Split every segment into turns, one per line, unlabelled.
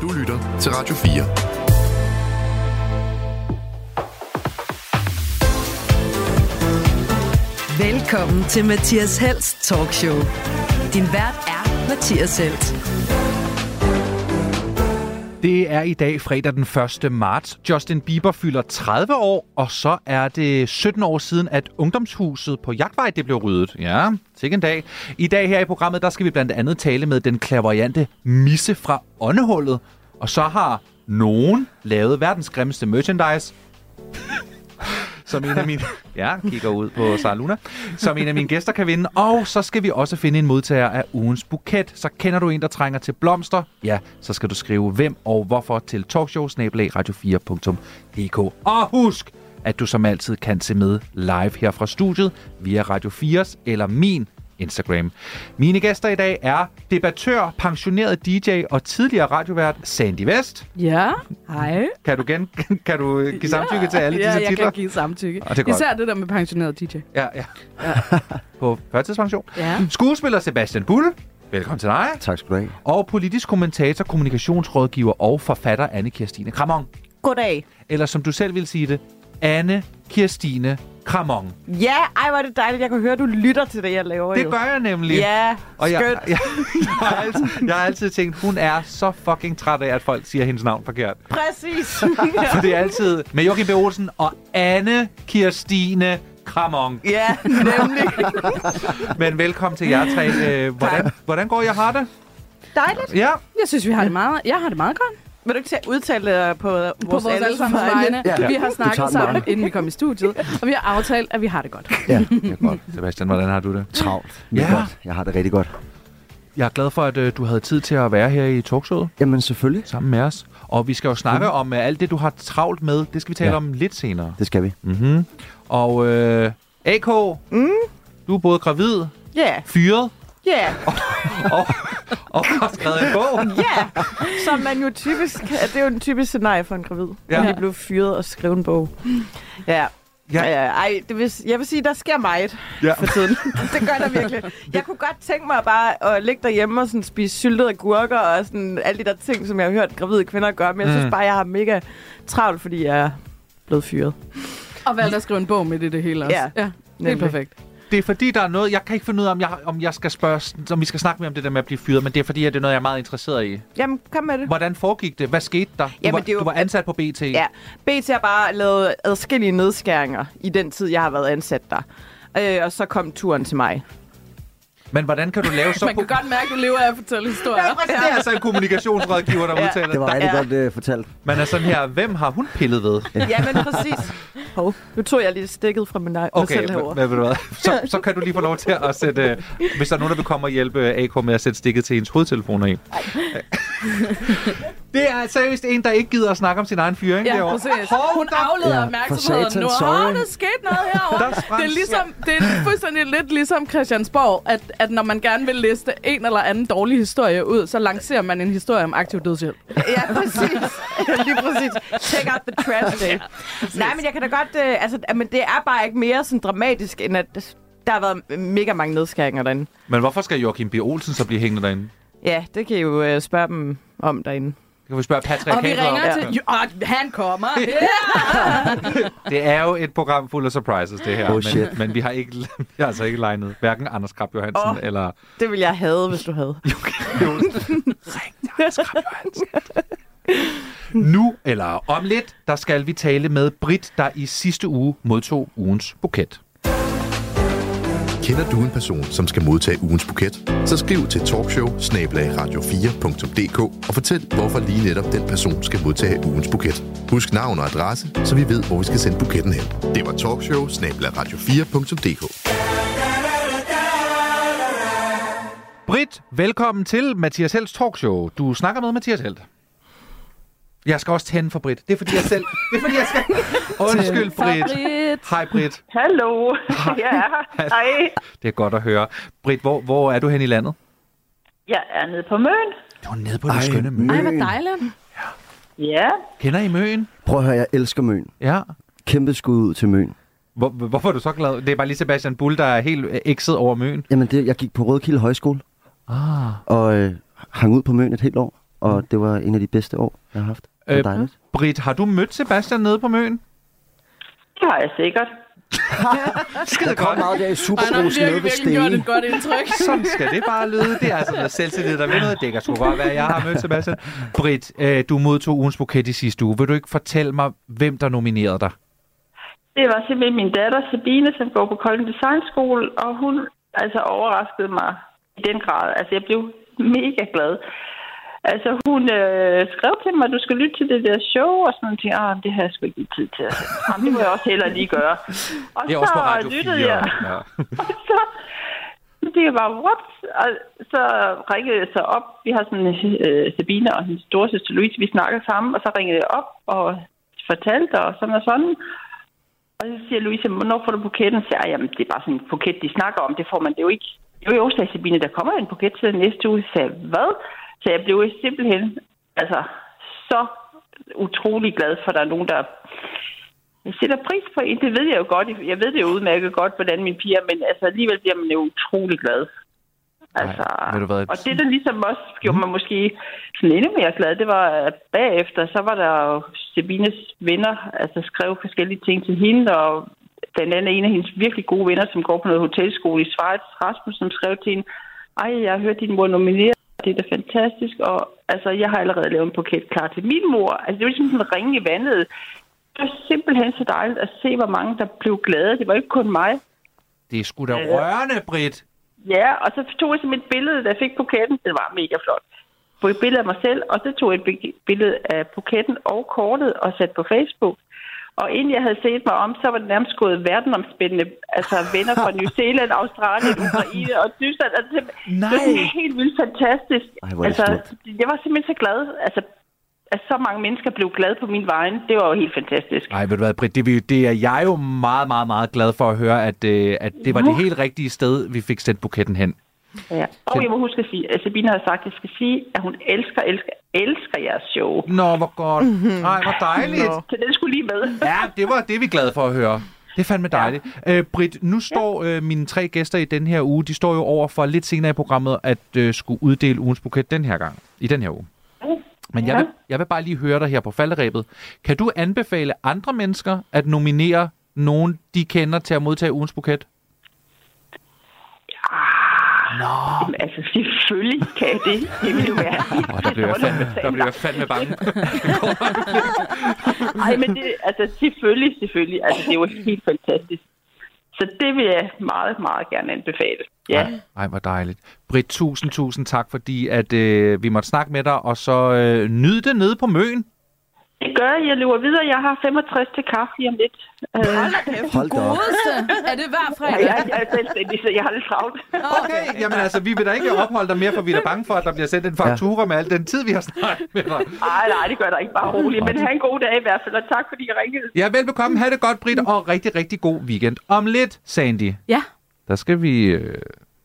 Du lytter til Radio
4. Velkommen til Mathias Helst Talkshow. Din vært er Mathias Helt.
Det er i dag fredag den 1. marts. Justin Bieber fylder 30 år, og så er det 17 år siden, at Ungdomshuset på Jagtvej det blev ryddet. Ja, sikke en dag. I dag her i programmet, der skal vi blandt andet tale med den klaveriante Misse fra Åndehullet. Og så har nogen lavet verdens grimmeste merchandise. som en af mine... Ja, kigger ud på Sara Luna. Som en af mine gæster kan vinde. Og så skal vi også finde en modtager af ugens buket. Så kender du en, der trænger til blomster? Ja, så skal du skrive hvem og hvorfor til talkshow-radio4.dk. Og husk, at du som altid kan se med live her fra studiet via Radio 4's eller min Instagram. Mine gæster i dag er debattør, pensioneret DJ og tidligere radiovært Sandy Vest.
Ja, hej.
Kan du, gen, kan du give samtykke ja, til alle
ja,
disse
jeg
titler?
kan give samtykke.
Og det er godt.
Især det der med pensioneret DJ.
Ja, ja. ja. På førtidspension.
Ja.
Skuespiller Sebastian Bulle. Velkommen til dig.
Tak skal du have.
Og politisk kommentator, kommunikationsrådgiver og forfatter anne Kirstine Kramon.
Goddag.
Eller som du selv vil sige det, Anne Kirstine Kramon.
Ja, ej, var det dejligt. Jeg kan høre, du lytter til det, jeg laver
Det
jo.
gør jeg nemlig.
Ja,
Og jeg,
skønt.
jeg, jeg, har altid, jeg har altid tænkt, hun er så fucking træt af, at folk siger hendes navn forkert.
Præcis.
For det er altid med Joachim B. Olsen og Anne Kirstine Kramon.
ja, nemlig.
Men velkommen til jer tre. Øh, Hvordan, hvordan går jeg har det?
Dejligt.
Ja,
Jeg synes, vi har det meget, jeg har det meget godt
Vil du ikke til at udtale dig på øh, vores,
på vores allesammens vegne.
Ja.
Vi har
Du
snakket
tager den
sammen,
meget.
inden vi kom i studiet, og vi har aftalt, at vi har det godt.
Ja, det er godt.
Sebastian, hvordan har du det?
Travlt. Men
Ja.
ja. godt. Jeg har det rigtig godt.
Jeg er glad for, at øh, du havde tid til at være her i talkshowet
Jamen selvfølgelig.
sammen med os. Og vi skal jo snakke mm. om øh, alt det, du har travlt med. Det skal vi tale ja.
Ja.
om lidt senere.
Det skal vi.
Mm-hmm. Og øh, AK, mm. du er både gravid,
Ja,
fyret
ja,
og, og har skrevet en bog.
ja. Som man jo typisk... Det er jo en typisk scenarie for en gravid.
Ja.
Ja. Lige blev fyret og skrev en bog.
Mm.
Ja.
Ja.
Ja. ja. Ej, det vil, jeg vil sige, der sker meget
Ja.
ja. for tiden. det gør der virkelig. Jeg kunne godt tænke mig bare at ligge derhjemme og sådan spise syltede agurker og sådan alle de der ting, som jeg har hørt gravide kvinder gøre. Men jeg
Mm.
synes bare, jeg har mega travlt, fordi jeg er blevet fyret.
Og valgte at skrive en bog med det, det hele også.
Ja.
ja. Helt
Nemlig.
perfekt.
Det er fordi, der er noget... Jeg kan ikke finde ud af, om jeg, om jeg skal spørge... Om vi skal snakke mere om det der med at blive fyret, men det er fordi, at det er noget, jeg er meget interesseret i.
Jamen, kom med det.
Hvordan foregik det? Hvad skete der? Du,
Jamen,
var,
det er jo-
du var ansat på BT.
Ja, BT har bare lavet adskillige nedskæringer i den tid, jeg har været ansat der. Øh, og så kom turen til mig.
Men hvordan kan du lave så...
Man kan godt mærke, at du lever af at fortælle historier.
Det er altså en kommunikationsrådgiver, der
Ja.
udtaler
Det var
det.
rigtig
Ja.
godt uh, fortalt.
Man er sådan her, hvem har hun pillet ved?
Ja, men præcis. Hov, nu tog jeg lige stikket fra min egen okay,
Okay,
selv
hva-
herovre.
hvad ved du hvad? Så, så kan du lige få lov til at sætte... Øh, hvis der er nogen, der vil komme og hjælpe øh, AK med at sætte stikket til ens hovedtelefoner i. det er seriøst en, der ikke gider at snakke om sin egen fyring
Ja,
derovre.
præcis.
Hov,
Hun
der-
afleder
Ja, for
opmærksomheden
satan,
nu.
sorry.
Åh, der skete noget herovre.
Der sprang-
Det er, ligesom, det er fuldstændig lidt ligesom Christiansborg, at, at når man gerne vil liste en eller anden dårlig historie ud, så lancerer man en historie om aktiv dødshjælp.
Ja, præcis. lige præcis. Check out the trash day. Nej, men jeg kan da godt... Øh, altså, men det er bare ikke mere sådan dramatisk, end at der har været mega mange nedskæringer derinde.
Men hvorfor skal Joachim B. Olsen så blive hængende derinde?
Ja, det kan I jo øh, spørge dem om derinde.
Det kan vi spørge Patrick
Og vi
Haber om.
ringer
Ja.
til... Jo, og han kommer.
Det er jo et program fuld af surprises, det her.
Oh,
men,
shit.
men vi har ikke, vi har altså ikke legnet hverken Anders Krab Johansen oh.
Åh.
eller
Det vil jeg have, hvis du havde.
Joachim B. Olsen. Ring til Anders Krab Johansen. Nu, eller om lidt, der skal vi tale med Britt, der i sidste uge modtog ugens buket.
4. Kender du en person, som skal modtage ugens buket? Så skriv til talkshow radio 4dk og fortæl, hvorfor lige netop den person skal modtage ugens buket. Husk navn og adresse, så vi ved, hvor vi skal sende buketten hen. Det var talkshow radio 4dk
Britt, velkommen til Mathias Helds talkshow. Du snakker med Mathias Held. Jeg skal også tænde for Britt. Det er fordi, jeg selv... Det er fordi, jeg skal... Undskyld, Britt.
Favorit.
Hej, Britt.
Hallo, jeg er her. Hej,
Det er godt at høre. Britt, hvor, hvor er du hen i landet?
jeg er nede på Møn.
Du er nede på den skønne mø.
Ej, hvor dejligt.
Ja,
Kender I møen?
Prøv at høre, jeg elsker Møn.
Ja.
Kæmpe skud ud til Møn.
Hvor, hvorfor er du så glad? Det er bare lige Sebastian Bull, der er helt øh, ekset over møen.
Jamen, det, jeg gik på Rødkilde Højskole
Ah.
og øh, hang ud på Møn et helt år. og det var en af de bedste år, jeg har haft. Det var
Øh,
dejligt.
Britt, har du mødt Sebastian nede på Møn?
Det har jeg sikkert.
Skide godt.
meget der i
Han har virkelig, virkelig gjort et godt indtryk.
Sådan skal det bare lyde. Det er altså noget selvtillid, der ved noget. Det kan sgu godt være, jeg har mødt Sebastian. Britt, øh, du modtog ugens buket i sidste uge. Vil du ikke fortælle mig, hvem der nominerede dig?
Det var simpelthen min datter Sabine, som går på Kolding Design School, og hun altså overraskede mig i den grad. Altså, jeg blev mega glad. Altså, hun øh, skrev til mig, at du skal lytte til det der show, og sådan noget. Ah, det har jeg sgu ikke lige tid til. Altså. Jamen, det må jeg også hellere lige gøre. Og
Det er også på Radio 4.
jeg.
Ja.
Og så det jeg bare, what? Og så ringede jeg så op. Vi har sådan øh, Sabine og hendes storesøster Louise, vi snakker sammen, og så ringede jeg op og fortalte og sådan og sådan. Og så siger Louise, hvornår får du buketten? Så siger jeg, jamen det er bare sådan en buket, de snakker om, det får man det jo ikke. Jo, jo, sagde Sabine, der kommer en buket til næste uge. Så sagde jeg, hvad? Så jeg blev simpelthen altså, så utrolig glad for, at der er nogen, der jeg sætter pris på en. Det ved jeg jo godt. Jeg ved det jo udmærket godt, hvordan mine piger, men altså, alligevel bliver man jo utrolig glad. Altså,
Ej, ved du hvad? Mm.
og det, der ligesom også gjorde mig måske sådan endnu mere glad, det var, at bagefter, så var der jo Sabines venner, altså skrev forskellige ting til hende, og blandt andet en af hendes virkelig gode venner, som går på noget hotelskole i Schweiz, Rasmus, som skrev til hende, ej, jeg har hørt din mor nominere, det er da fantastisk, og altså, jeg har allerede lavet en buket klar til min mor. Altså, det var ligesom sådan en ringe i vandet. Det var simpelthen så dejligt at se, hvor mange, der blev glade. Det var ikke kun mig.
Det er sgu da rørende, Britt.
Ja, og så tog jeg simpelthen et billede, da jeg fik buketten. Den var mega flot. På et billede af mig selv, og så tog jeg et bi- billede af buketten og kortet og satte på Facebook. Og inden jeg havde set mig om, så var det nærmest gået verdenomspændende. Altså venner fra New Zealand, Australien, Ukraine og Tyskland. Altså, det det var sådan helt vildt fantastisk.
Ej, hvor er det
altså,
smukt.
jeg var simpelthen så glad. Altså, at så mange mennesker blev glade på min vegne. Det var jo helt fantastisk.
Ej, ved du hvad, Britt, det, vi- det er jeg jo meget, meget, meget glad for at høre, at, øh, at det var det helt rigtige sted, vi fik sendt buketten hen.
Ja. Og jeg må huske at sige, at Sabine har sagt, at jeg skal sige, at hun elsker, elsker, elsker jeres show.
Nå, hvor godt. Ej, hvor dejligt.
Så den skulle lige med.
Ja, det var det, er vi er glade for at høre. Det er fandme dejligt. Ja. Øh, Britt, nu står øh, mine tre gæster i den her uge, de står jo over for lidt senere i programmet at øh, skulle uddele ugens buket den her gang, i den her uge. Men jeg,
Ja.
vil, jeg vil bare lige høre dig her på falderæbet. Kan du anbefale andre mennesker at nominere nogen, de kender til at modtage ugens buket?
Jamen, altså, selvfølgelig kan jeg det. Det vil jo være helt
Åh, der blev jeg fandme, der blev jeg fandme bange.
Nej, men det, altså, selvfølgelig, selvfølgelig. Altså, det er jo helt fantastisk. Så det vil jeg meget, meget gerne anbefale. Ja,
Ej, hvor dejligt. Britt, tusind, tusind tak, fordi at, øh, vi måtte snakke med dig, og så øh, nyde det nede på møen.
det gør jeg. Jeg løber videre. Jeg har 65 til kaffe lige om lidt. Øh,
Hold da op.
Godeste. Er det hver
og
fredag?
jeg, jeg er selvstændig, så jeg har lidt travlt.
Okay, jamen altså, vi vil da ikke opholde dig mere, for vi er da bange for, at der bliver sendt en faktura med al den tid, vi har snakket med dig.
Nej, nej, det gør der ikke. Bare roligt. Men have en god dag i hvert fald, og tak fordi I ringede.
Ja, velbekomme. Ha' det godt, Britt, og rigtig, rigtig god weekend. Om lidt, Sandy,
Ja.
der skal vi øh,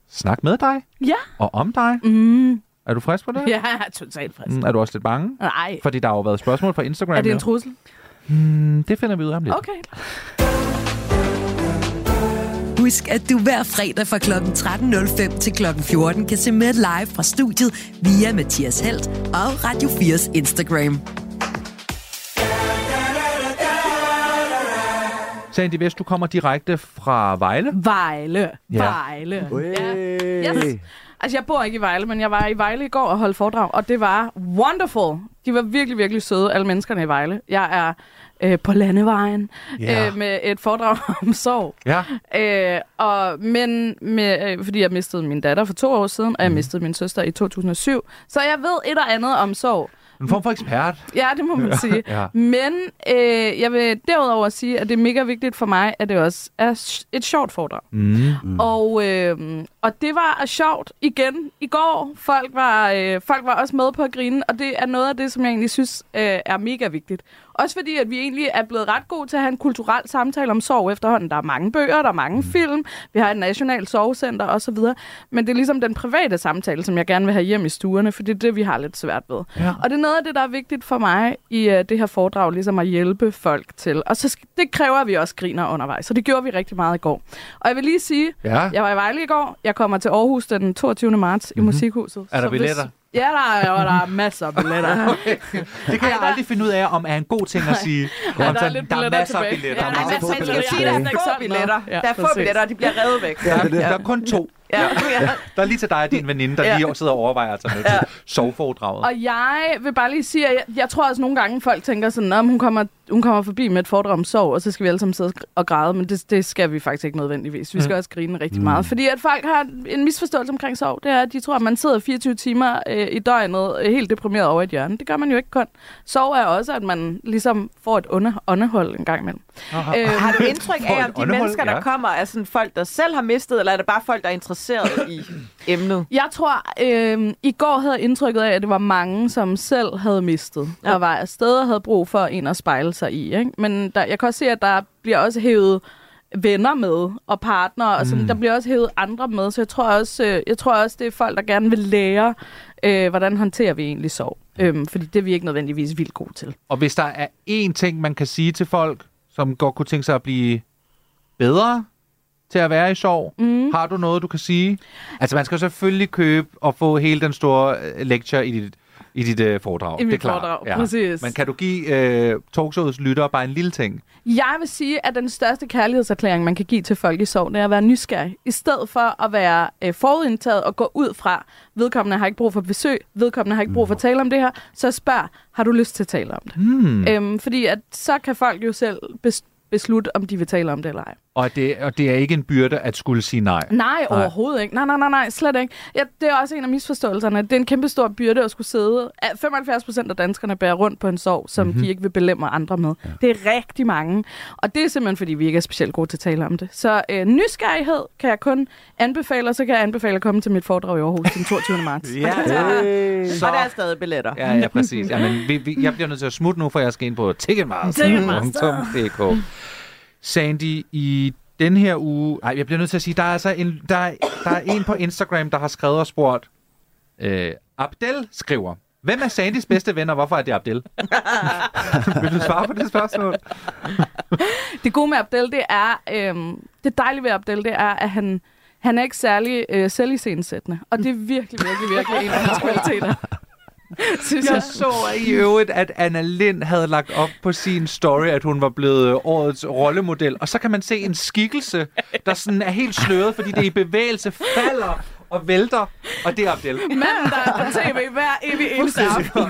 snakke med dig
Ja.
og om dig. Mm. Er du frisk på det?
Ja, jeg er totalt frisk.
Mm, Er du også lidt bange?
Nej.
Fordi der har jo været spørgsmål fra Instagram.
Er det en
jo.
trussel?
Mm, det finder vi ud af om lidt.
Okay.
Husk, at du hver fredag fra kl. 13.05 til kl. 14 kan se med live fra studiet via Mathias Helt og Radio 4's Instagram.
Sandy Vest, du kommer direkte fra Vejle.
Vejle.
Ja.
Vejle.
Hey.
Yes. Altså, jeg bor ikke i Vejle, men jeg var i Vejle i går og holdt foredrag, og det var wonderful. De var virkelig, virkelig søde, alle menneskerne i Vejle. Jeg er øh, på landevejen
Ja.
øh, med et foredrag om sorg.
Ja.
Øh, og, men med, øh, fordi jeg mistede min datter for to år siden,
Mm.
og jeg mistede min søster i 2007, så jeg ved et og andet om sorg.
En form for ekspert.
Ja, det må man sige.
Ja.
Men øh, jeg vil derudover sige, at det er mega vigtigt for mig, at det også er s- et sjovt foredrag. Mm. Og, øh, og det var sjovt igen i går. Folk var, øh, folk var også med på at grine, og det er noget af det, som jeg egentlig synes øh, er mega vigtigt. Også fordi, at vi egentlig er blevet ret gode til at have en kulturel samtale om sorg efterhånden. Der er mange bøger, der er mange film, vi har et nationalt sorgcenter osv. Men det er ligesom den private samtale, som jeg gerne vil have hjem i stuerne, for det er det, vi har lidt svært ved.
Ja.
Og det er noget af det, der er vigtigt for mig i uh, det her foredrag, ligesom at hjælpe folk til. Og så sk- det kræver, at vi også griner undervejs, så det gjorde vi rigtig meget i går. Og jeg vil lige sige,
Ja.
jeg var i Vejle i går, jeg kommer til Aarhus den 22. marts i Musikhuset.
Mhm. Er der
så hvis-
billetter?
Ja, der er, og der er masser af billetter.
Det kan jeg
der-
aldrig finde ud af, om er en god ting at sige.
Ja,
Om
der er
sådan,
lidt
der er
billetter
masser af
tilbage.
billetter.
Ja,
Nej,
der er
man
få
man skal
billetter
sige, der er
tilbage.
få billetter.
Ja,
Der er få
præcis.
billetter, og de bliver revet væk.
Der, er- der er kun to.
Ja, ja.
Der er lige til dig og din veninde, der
Ja.
lige sidder og overvejer at tage med til soveforedraget.
Og jeg vil bare lige sige, at jeg, jeg tror også nogle gange, folk tænker sådan, at hun kommer, hun kommer forbi med et foredrag om sorg, og så skal vi alle sammen sidde og gr- og græde, men det, det skal vi faktisk ikke nødvendigvis. Vi skal også grine rigtig meget, fordi at folk har en misforståelse omkring sorg. Det er, at de tror, at man sidder 24 timer øh, i døgnet øh, helt deprimeret over et hjørne. Det gør man jo ikke kun. Sorg er også, at man ligesom får et under, underhold en gang imellem. Øh,
Har du indtryk
For
af,
et
om de
åndehul,
mennesker, der
ja.
kommer, er sådan folk, der selv har mistet, eller er det bare folk, der er interesseret i emnet?
Jeg tror, øh, i går havde jeg indtrykket af, at det var mange, som selv havde mistet, ja. og var afsted og havde brug for en at spejle sig i. Ikke? Men der, jeg kan også se, at der bliver også hævet venner med og partnere, og sådan, der bliver også hævet andre med, så jeg tror også, øh, jeg tror også det er folk, der gerne vil lære, øh, hvordan håndterer vi egentlig sorg. Øhm, fordi det er vi ikke nødvendigvis vildt gode til.
Og hvis der er én ting, man kan sige til folk, som godt kunne tænke sig at blive bedre til at være i sorg,
Mhm.
mm. har du noget, du kan sige? Altså, man skal jo selvfølgelig købe og få hele den store øh, lecture i dit, i dit øh, foredrag.
I mit
det er klart.
foredrag, præcis.
Men kan du give øh, talkshowets lyttere bare en lille ting?
Jeg vil sige, at den største kærlighedserklæring, man kan give til folk i sorg, det er at være nysgerrig. I stedet for at være øh, forudindtaget og gå ud fra, vedkommende har ikke brug for besøg, vedkommende har ikke brug for at tale om det her, så spørg, har du lyst til at tale om det? Mm. Øhm, fordi at, så kan folk jo selv bes- beslutte, om de vil tale om det eller ej.
Og det, og det er ikke en byrde at skulle sige nej.
Nej, overhovedet ikke. Nej, nej, nej, nej, slet ikke. Ja, det er også en af misforståelserne. Det er en kæmpe stor byrde at skulle sidde. at 75 procent af danskerne bærer rundt på en sorg, som mm-hmm. de ikke vil belemre andre med. Ja. Det er rigtig mange. Og det er simpelthen, fordi vi ikke er specielt gode til at tale om det. Så øh, nysgerrighed kan jeg kun anbefale, og så kan jeg anbefale at komme til mit foredrag i Aarhus den 22. marts.
Så... Og der er stadig billetter.
Ja, ja, præcis. Jamen, vi, vi, jeg bliver nødt til at smutte nu, for jeg skal ind på ticketmaster.dk. Sandy, i den her uge... Nej, jeg bliver nødt til at sige, der er altså en, der, er- der er en på Instagram, der har skrevet og spurgt... Øh, Abdel skriver... Hvem er Sandys bedste ven, og hvorfor er det Abdel? Vil du svare på det spørgsmål?
Det gode med Abdel, det er, øhm, det dejlige ved Abdel, det er, at han, han er ikke særlig øh, selvisensættende. Og det er virkelig, virkelig, virkelig en af hans kvaliteter. Synes
Jeg så i øvrigt, at Anna Lind havde lagt op på sin story, at hun var blevet årets rollemodel. Og så kan man se en skikkelse, der sådan er helt sløret, fordi det er i bevægelse, falder og vælter. Og det er Abdel.
manden, der er på tv hver evig eneste aften.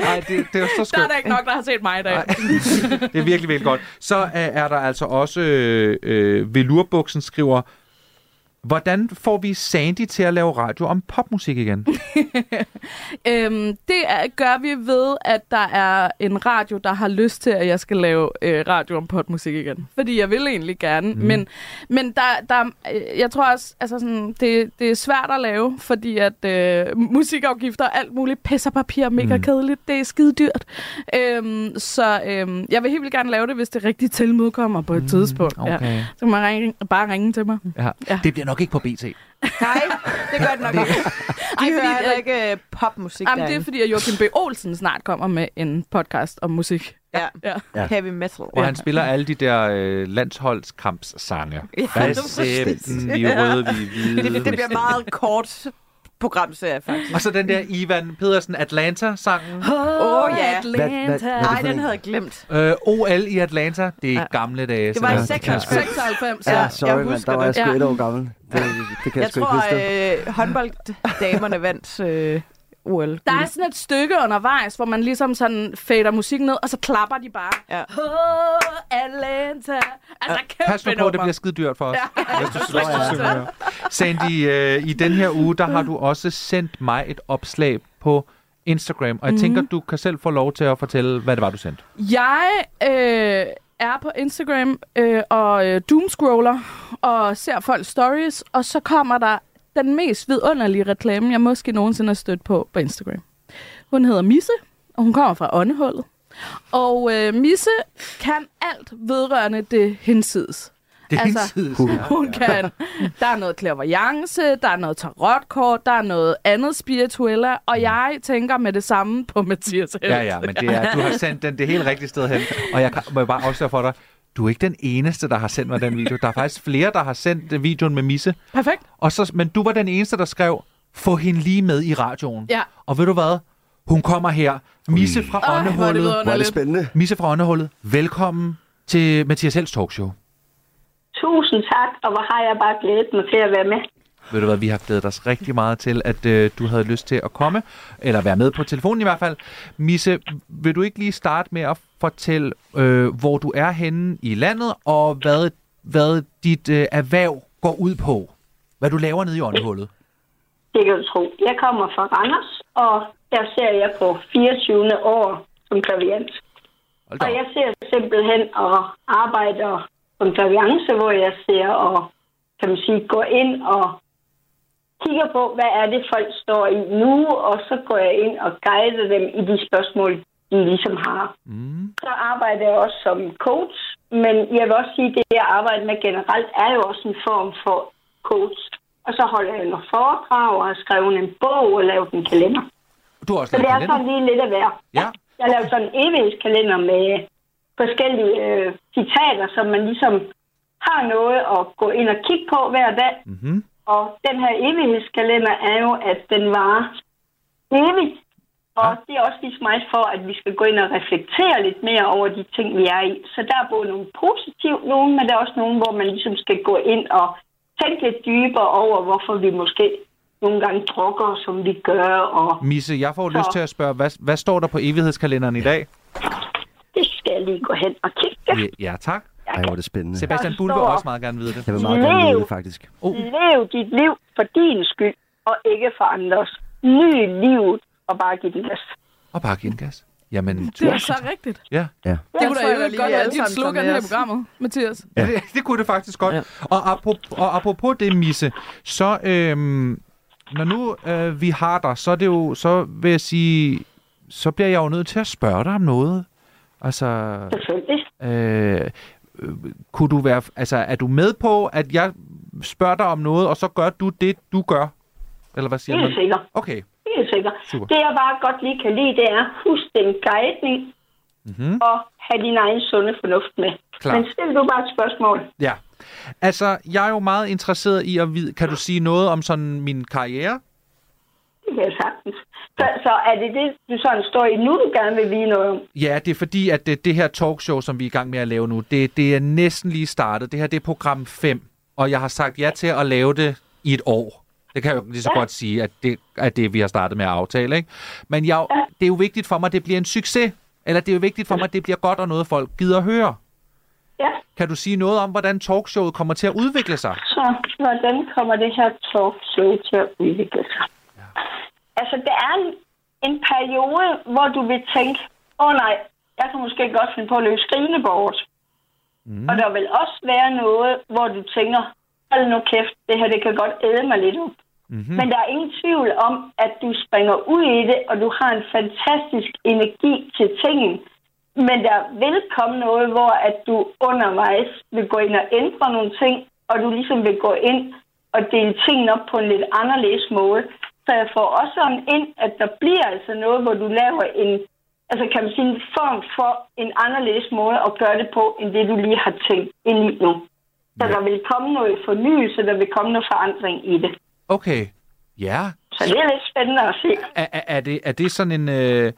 Nej, det, det er så
Der er
skønt.
der ikke nok, der har set mig i dag.
Nej. Det er virkelig, virkelig godt. Så øh, er der altså også øh, øh, Velurbuksen skriver, hvordan får vi Sandy til at lave radio om popmusik igen?
Øhm, det er, gør vi ved, at der er en radio, der har lyst til, at jeg skal lave øh, radio om popmusik igen. Fordi jeg vil egentlig gerne,
Mhm.
mm. men, men der, der, øh, jeg tror også, altså sådan, det, det er svært at lave, fordi at øh, musikafgifter og alt muligt pisser papir er
Mhm.
mega mm. kedeligt. Det er skide dyrt. Øhm, så øhm, jeg vil helt vildt gerne lave det, hvis det rigtige tilmod kommer på et mm. tidspunkt. Ja.
Mhm. Okay.
Så kan man ringe, bare ringe til mig.
Ja.
Ja.
Det bliver nok ikke på BT.
Nej, det gør det nok ikke. De hører
fordi-
heller ikke øh, popmusik
Jamen, det er fordi, at Joachim B. Olsen snart kommer med en podcast om musik.
Ja.
Ja.
Ja. Heavy metal.
Hvor han spiller alle de der øh, landsholdskampssange.
Ja,
Hvad
det var præcis.
sæben, vi er røde, vi er hvide.
Det, det bliver meget kort programserie, faktisk.
Og så den der Ivan Pedersen Atlanta-sangen.
Åh, oh, ja.
Hvad, hvad, hvad er
Nej,
det for
den
en?
havde jeg glemt.
Øh, OL i Atlanta, det er gamle dage.
Det var i
så-
96.
96,
Ja,
ja.
sorry,
jeg
mand.
husker
Der var jeg
det.
sgu
Ja.
et år gammel. Det, det kan jeg,
Jeg
sgu ikke
tror,
huske. det.
øh, håndbolddamerne vandt øh, OL.
Der er sådan et stykke undervejs, hvor man ligesom sådan fader musik ned, og så klapper de bare.
Ja.
Oh, Atlanta. Altså, kæmpe
Pas nu på,
nummer.
det bliver skide dyrt for os.
Ja.
Hvis du slår jer. Sandy, øh, i den her uge, der har du også sendt mig et opslag på Instagram,
Mhm.
og jeg tænker, du kan selv få lov til at fortælle, hvad det var, du sendte.
Jeg øh, er på Instagram øh, og øh, doomscroller og ser folks stories, og så kommer der den mest vidunderlige reklame, jeg måske nogensinde har stødt på på Instagram. Hun hedder Misse, og hun kommer fra Åndehullet. Og øh, Misse kan alt vedrørende det hensides.
Det er
Altså,
hinsides.
Hun kan. Der er noget clairvoyance, der er noget tarotkort, der er noget andet spirituella, og jeg tænker med det samme på Mathias Helt.
Ja, ja, men det er, du har sendt den det helt rigtige sted hen. Og jeg kan, må jeg bare afsløre for dig, du er ikke den eneste, der har sendt mig den video. Der er faktisk flere, der har sendt øh, videoen med Misse.
Perfekt.
Og så, men du var den eneste, der skrev, Få hende lige med i radioen.
Ja.
Og ved du hvad? Hun kommer her. Misse fra
Øj, hvor er det
Åndehullet.
Hvor er det
vidunderligt.
spændende.
Misse fra Åndehullet. Velkommen til Mathias Helds talkshow.
Tusind tak, og hvor har jeg bare glædet mig til at være med.
Ved du hvad, vi har glædet os rigtig meget til, at øh, du havde lyst til at komme, eller være med på telefonen i hvert fald. Misse, vil du ikke lige starte med at fortælle, øh, hvor du er henne i landet, og hvad, hvad dit øh, erhverv går ud på? Hvad du laver nede i åndehullet?
Det kan du tro. Jeg kommer fra Randers, og der ser jeg på 24. år som klaviant.
Hold da
Og
op.
jeg ser simpelthen og arbejder som klaviance, hvor jeg ser og kan man sige, går ind og kigger på, hvad er det, folk står i nu, og så går jeg ind og guider dem i de spørgsmål, de ligesom har.
Mm.
Så arbejder jeg også som coach, men jeg vil også sige, at det, jeg arbejder med generelt, er jo også en form for coach. Og så holder jeg nogle foredrag og har skrevet en bog og lavet en kalender.
Du har også
Så det
lavet
er sådan
kalender.
lige lidt af hver.
Ja.
Jeg laver sådan en evighedskalender med forskellige øh, citater, som man ligesom har noget at gå ind og kigge på hver dag.
Mm-hmm.
Og den her evighedskalender er jo, at den varer evigt. Og
Ja.
det er også ligesom mig for, at vi skal gå ind og reflektere lidt mere over de ting, vi er i. Så der er både nogle positive nogle, men der er også nogle, hvor man ligesom skal gå ind og tænke lidt dybere over, hvorfor vi måske nogle gange drukker, som vi gør. Og
Misse, jeg får lyst
Så.
til at spørge, hvad, hvad står der på evighedskalenderen i dag?
det skal jeg lige gå hen og kigge.
Ja, ja tak.
Ej, hvor er det spændende.
Sebastian
Der
Bull vil
står-
også meget gerne vide det.
Jeg vil meget gerne vide det, faktisk.
Lev dit liv for din skyld, og ikke for andres. Ny livet, og bare give den gas.
Og bare give den gas. Jamen,
Det er
tusind
så
tak.
rigtigt.
Ja.
Det kunne da
tror jeg
jo
da lige,
godt
vi
være
alle
dit
sammen
slogan
tager med
her i
os.
programmet, Mathias.
Ja. Det, det kunne det faktisk godt. Ja. Og, apropos, og apropos det, Misse, så øhm, når nu øh, vi har dig, så er det jo, så vil jeg sige, så bliver jeg jo nødt til at spørge dig om noget. Altså,
Selvfølgelig.
øh, øh, kunne du være, altså, er du med på, at jeg spørger dig om noget, og så gør du det, du gør? Eller hvad siger
Helt
man?
sikkert.
Okay,
Helt sikkert.
Super.
Det, jeg bare godt lige kan lide, det er, husk den guidning,
Mhm.
mm-hmm. og have din egen sunde fornuft med.
Klart.
Men stil du bare et spørgsmål.
ja. Altså, jeg er jo meget interesseret i at vide, kan du sige noget om sådan min karriere?
Det kan jeg sagtens. Så, så er det det, du sådan står i nu, du gerne vil vide noget om?
Ja, det er fordi, at det, det her talkshow, som vi er i gang med at lave nu, det, det er næsten lige startet. Det her det er program 5, og jeg har sagt ja til at lave det i et år. Det kan jeg jo lige så godt sige, at det er det, vi har startet med at aftale. Ikke? Men jeg, er jo- det er jo vigtigt for mig, at det bliver en succes. Eller det er jo vigtigt for mig, at det bliver godt og noget, folk gider høre.
Ja,
Kan du sige noget om, hvordan talkshowet kommer til at udvikle sig?
så hvordan kommer det her talkshow til at udvikle sig? Altså, der er en, en periode, hvor du vil tænke, åh oh, nej, jeg kan måske godt finde på at løbe skrigende bort. Mm. Og der vil også være noget, hvor du tænker, hold nu kæft, det her det kan godt æde mig lidt op. Mm-hmm. Men der er ingen tvivl om, at du springer ud i det, og du har en fantastisk energi til tingen. Men der vil komme noget, hvor at du undervejs vil gå ind og ændre nogle ting, og du ligesom vil gå ind og dele tingene op på en lidt anderledes måde. Så jeg får også sådan ind, at der bliver altså noget, hvor du laver en, altså kan man sige, en form for en anderledes måde at gøre det på, end det du lige har tænkt ind i nu. Så der vil komme noget fornyelse, der vil komme noget forandring i det.
Okay, ja.
Så det er lidt spændende at se.
Er, er, er, det, er det sådan en... Øh,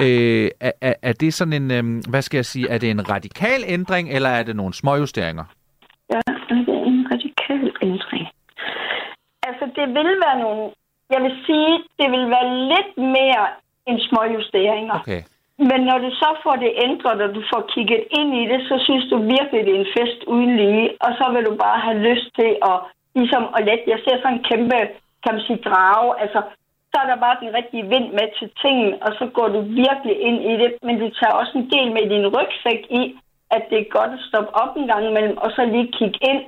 øh, er, er- er det sådan en... Øh, hvad skal jeg sige? Er det en radikal ændring, eller er det nogle småjusteringer?
Ja, det er en radikal ændring. Altså, det vil være nogle... Jeg vil sige, det vil være lidt mere end små justeringer.
Okay.
Men når du så får det ændret, og du får kigget ind i det, så synes du virkelig, det er en fest uden lige. Og så vil du bare have lyst til at, ligesom at lette. Jeg ser sådan en kæmpe, kan man sige, drage. Altså, så er der bare den rigtige vind med til tingene, og så går du virkelig ind i det. Men du tager også en del med i din rygsæk i, at det er godt at stoppe op en gang imellem, og så lige kigge ind.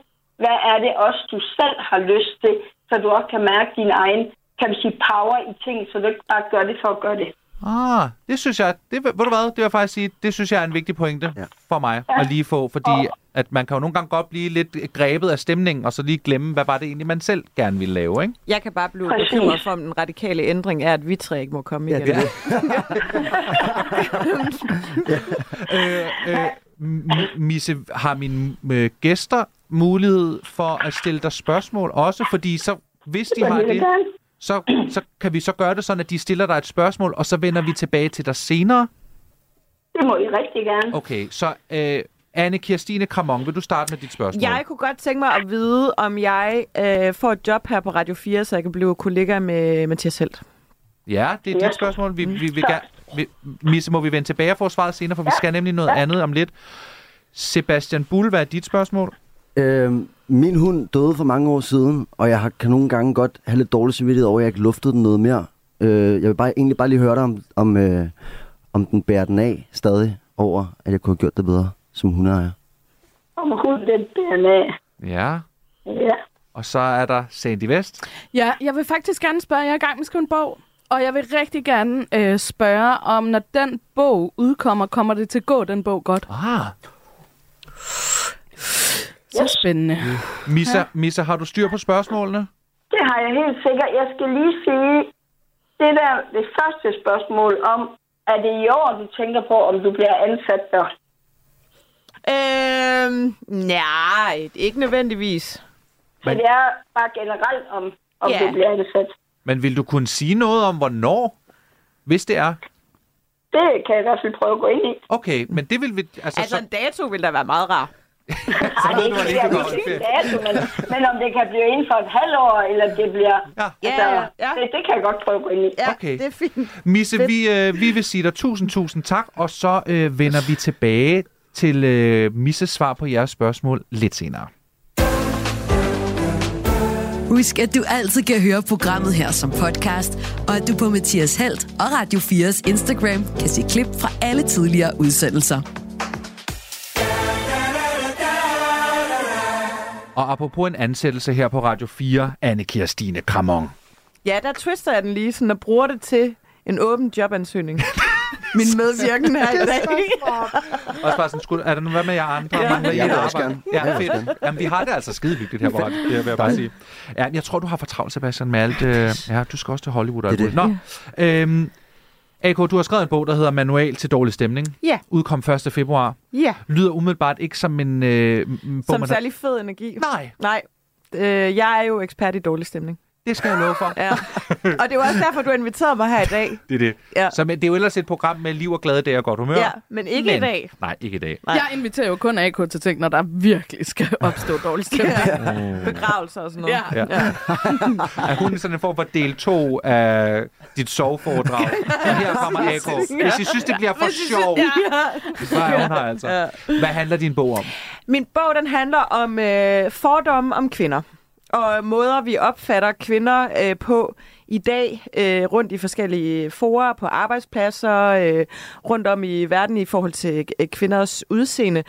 Hvad er det også, du selv har lyst til, så du også kan mærke din egen, kan man sige, power i ting, så du ikke bare gør det for at gøre det.
Ah, det synes jeg, det, ved du hvad, det vil jeg faktisk sige, det synes jeg er en vigtig pointe ja. for mig at lige få, fordi at man kan jo nogle gange godt blive lidt grebet af stemningen, og så lige glemme, hvad var det egentlig, man selv gerne ville lave, ikke?
Jeg kan bare blive
Præcis.
bekymret for, om den radikale ændring er, at vi tre ikke må komme igen.
det er
Øh, øh, M- Misse, har mine øh, gæster mulighed for at stille dig spørgsmål også, fordi så hvis de har
Jeg vil
det,
gerne.
så, så kan vi så gøre det sådan, at de stiller dig et spørgsmål, og så vender vi tilbage til dig senere.
Det må I rigtig gerne.
Okay, så øh, Anne Kirstine Kramon, vil du starte med dit spørgsmål?
Jeg kunne godt tænke mig at vide, om jeg øh, får et job her på Radio 4, så jeg kan blive kollega med Mathias Helt.
Ja, det er dit
Ja.
spørgsmål. Vi, vi, vi gerne, vi, Misse, må vi vende tilbage og få svaret senere, for vi skal nemlig noget andet om lidt. Sebastian Bull, hvad er dit spørgsmål?
Øhm, min hund døde for mange år siden, og jeg har, kan nogle gange godt have lidt dårlig samvittighed over, at jeg ikke luftede den noget mere. Øh, jeg vil bare, egentlig bare lige høre dig, om, om, øh, om den bærer den af stadig over, at jeg kunne have gjort det bedre som hundeejer.
Om hunden den bærer af.
Ja,
Ja.
og så er der Sandy Vest.
Ja, jeg vil faktisk gerne spørge, jeg er i gang med at skrive en bog, og jeg vil rigtig gerne øh, spørge om, når den bog udkommer, kommer det til at gå den bog godt?
Ah.
Så spændende.
Missa, ja. Missa, har du styr på spørgsmålene?
Det har jeg helt sikkert. Jeg skal lige sige, det der, det første spørgsmål om, er det i år, du tænker på, om du bliver ansat der?
Øhm, nej, ikke nødvendigvis.
Men... Det er bare generelt om, om
Ja.
du bliver ansat.
Men vil du kunne sige noget om, hvornår? Hvis det er.
Det kan jeg i hvert fald prøve at gå ind i.
Okay, men det vil vi... Altså,
Altså,
altså
en dato ville da være meget rar.
Nej, det er
ved du, hvor
ikke,
længe
jeg
du
vil
går
sige
på
en dato, men, men om det kan blive inden for et halvt år, eller det bliver...
Ja.
Altså,
Ja, ja.
Det, det kan jeg godt prøve at gå ind i.
Ja,
Okay.
det er fint.
Misse, vi, øh, vi vil sige dig tusind, tusind tak, og så øh, vender vi tilbage til øh, Misses svar på jeres spørgsmål lidt senere.
Husk, at du altid kan høre programmet her som podcast, og at du på Mathias Helt og Radio 4's Instagram kan se klip fra alle tidligere udsendelser.
Og apropos en ansættelse her på Radio 4, Anne Kirstine Kramon.
Ja, der twister jeg den lige sådan, og bruger det til en åben jobansøgning. Min medvirkende her i dag.
Også bare sådan, skulle, er der nu hvad med jer andre? Ja. Mangler I
Jeg vil
et
også
arbejde?
gerne.
Ja,
Jeg vil også
fedt. Jamen, vi har det altså skide hyggeligt her på Radio 4, vil jeg bare sige. Ja, men jeg tror, du har for travlt, Sebastian, med alt. Øh, ja, du skal også til Hollywood. Og
Det er
alt muligt. Nå, øhm, AK, du har skrevet en bog, der hedder Manual til dårlig stemning.
Ja.
Udkom 1. februar.
Ja,
Lyder umiddelbart ikke som en øh, m- m- bog, man
som
har-
særlig fed energi.
Nej,
Nej, øh, jeg er jo ekspert i dårlig stemning.
det skal jeg love for.
Ja. og det er jo også derfor, du har inviteret mig her i dag.
Det er det.
Ja.
Så men, det er jo ellers et program med liv og glade dage og godt humør.
Ja, men ikke men. i
Men-
dag.
Nej, ikke i dag.
Nej.
Jeg inviterer jo kun AK til ting, når der virkelig skal opstå dårlig stemning.
Begravelser og sådan noget.
Ja. ja. ja.
Er hun sådan en form for del 2 af dit soveforedrag? Og her kommer AK. Hvis I synes, det bliver for sjovt, så er hun her altså. Hvad handler din bog om?
Min bog, den handler om øh, fordomme om kvinder. Og måder, vi opfatter kvinder øh, på i dag, øh, rundt i forskellige forer, på arbejdspladser, øh, rundt om i verden i forhold til øh, kvinders udseende,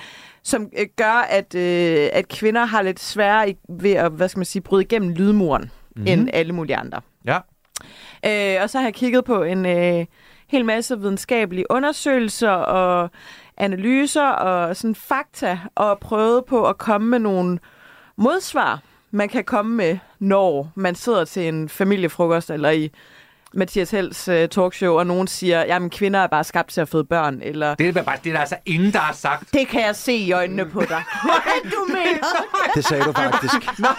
som øh, gør, at, øh, at kvinder har lidt sværere i, ved at hvad skal man sige, bryde igennem lydmuren mm-hmm. end alle mulige andre.
Ja.
Øh, og så har jeg kigget på en øh, hel masse videnskabelige undersøgelser og analyser og sådan fakta, og prøvet på at komme med nogle modsvar, man kan komme med, når man sidder til en familiefrokost eller i Mathias Hells øh, talkshow, og nogen siger, jamen kvinder er bare skabt til at føde børn, eller
Det er, bare, det er der altså ingen, der har sagt.
det kan jeg se i øjnene på dig. Hvad du mener?
Det sagde du faktisk.
Nej,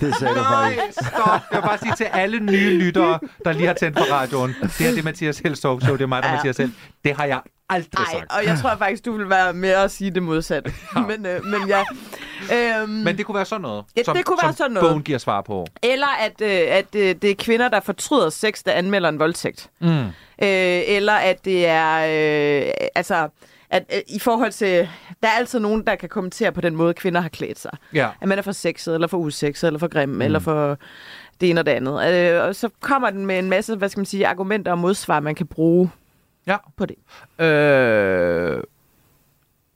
Det sagde du
nej,
faktisk.
stop. Jeg vil bare sige til alle nye lyttere, der lige har tændt på radioen. Det her, det er Mathias Helst Talk Show. Det er mig, der er
Ja.
Mathias Helst. Det har jeg aldrig
Nej,
sagt.
og jeg tror faktisk, du vil være med at sige det modsatte. Men, øh, men ja. Øhm,
Men det kunne være sådan noget,
Ja, det kunne være
som
sådan noget.
bogen giver svar på.
Eller at, øh, at øh, det er kvinder, der fortryder sex, der anmelder en voldtægt. Mm. Øh, eller at det er... Øh, altså, at øh, i forhold til... Der er altid nogen, der kan kommentere på den måde, kvinder har klædt sig.
Ja.
At man er for sexet, eller for usexet, eller for grim, mm. eller for det ene og det andet. Øh, og så kommer den med en masse, hvad skal man sige, argumenter og modsvar, man kan bruge
Ja.
på det.
Øh,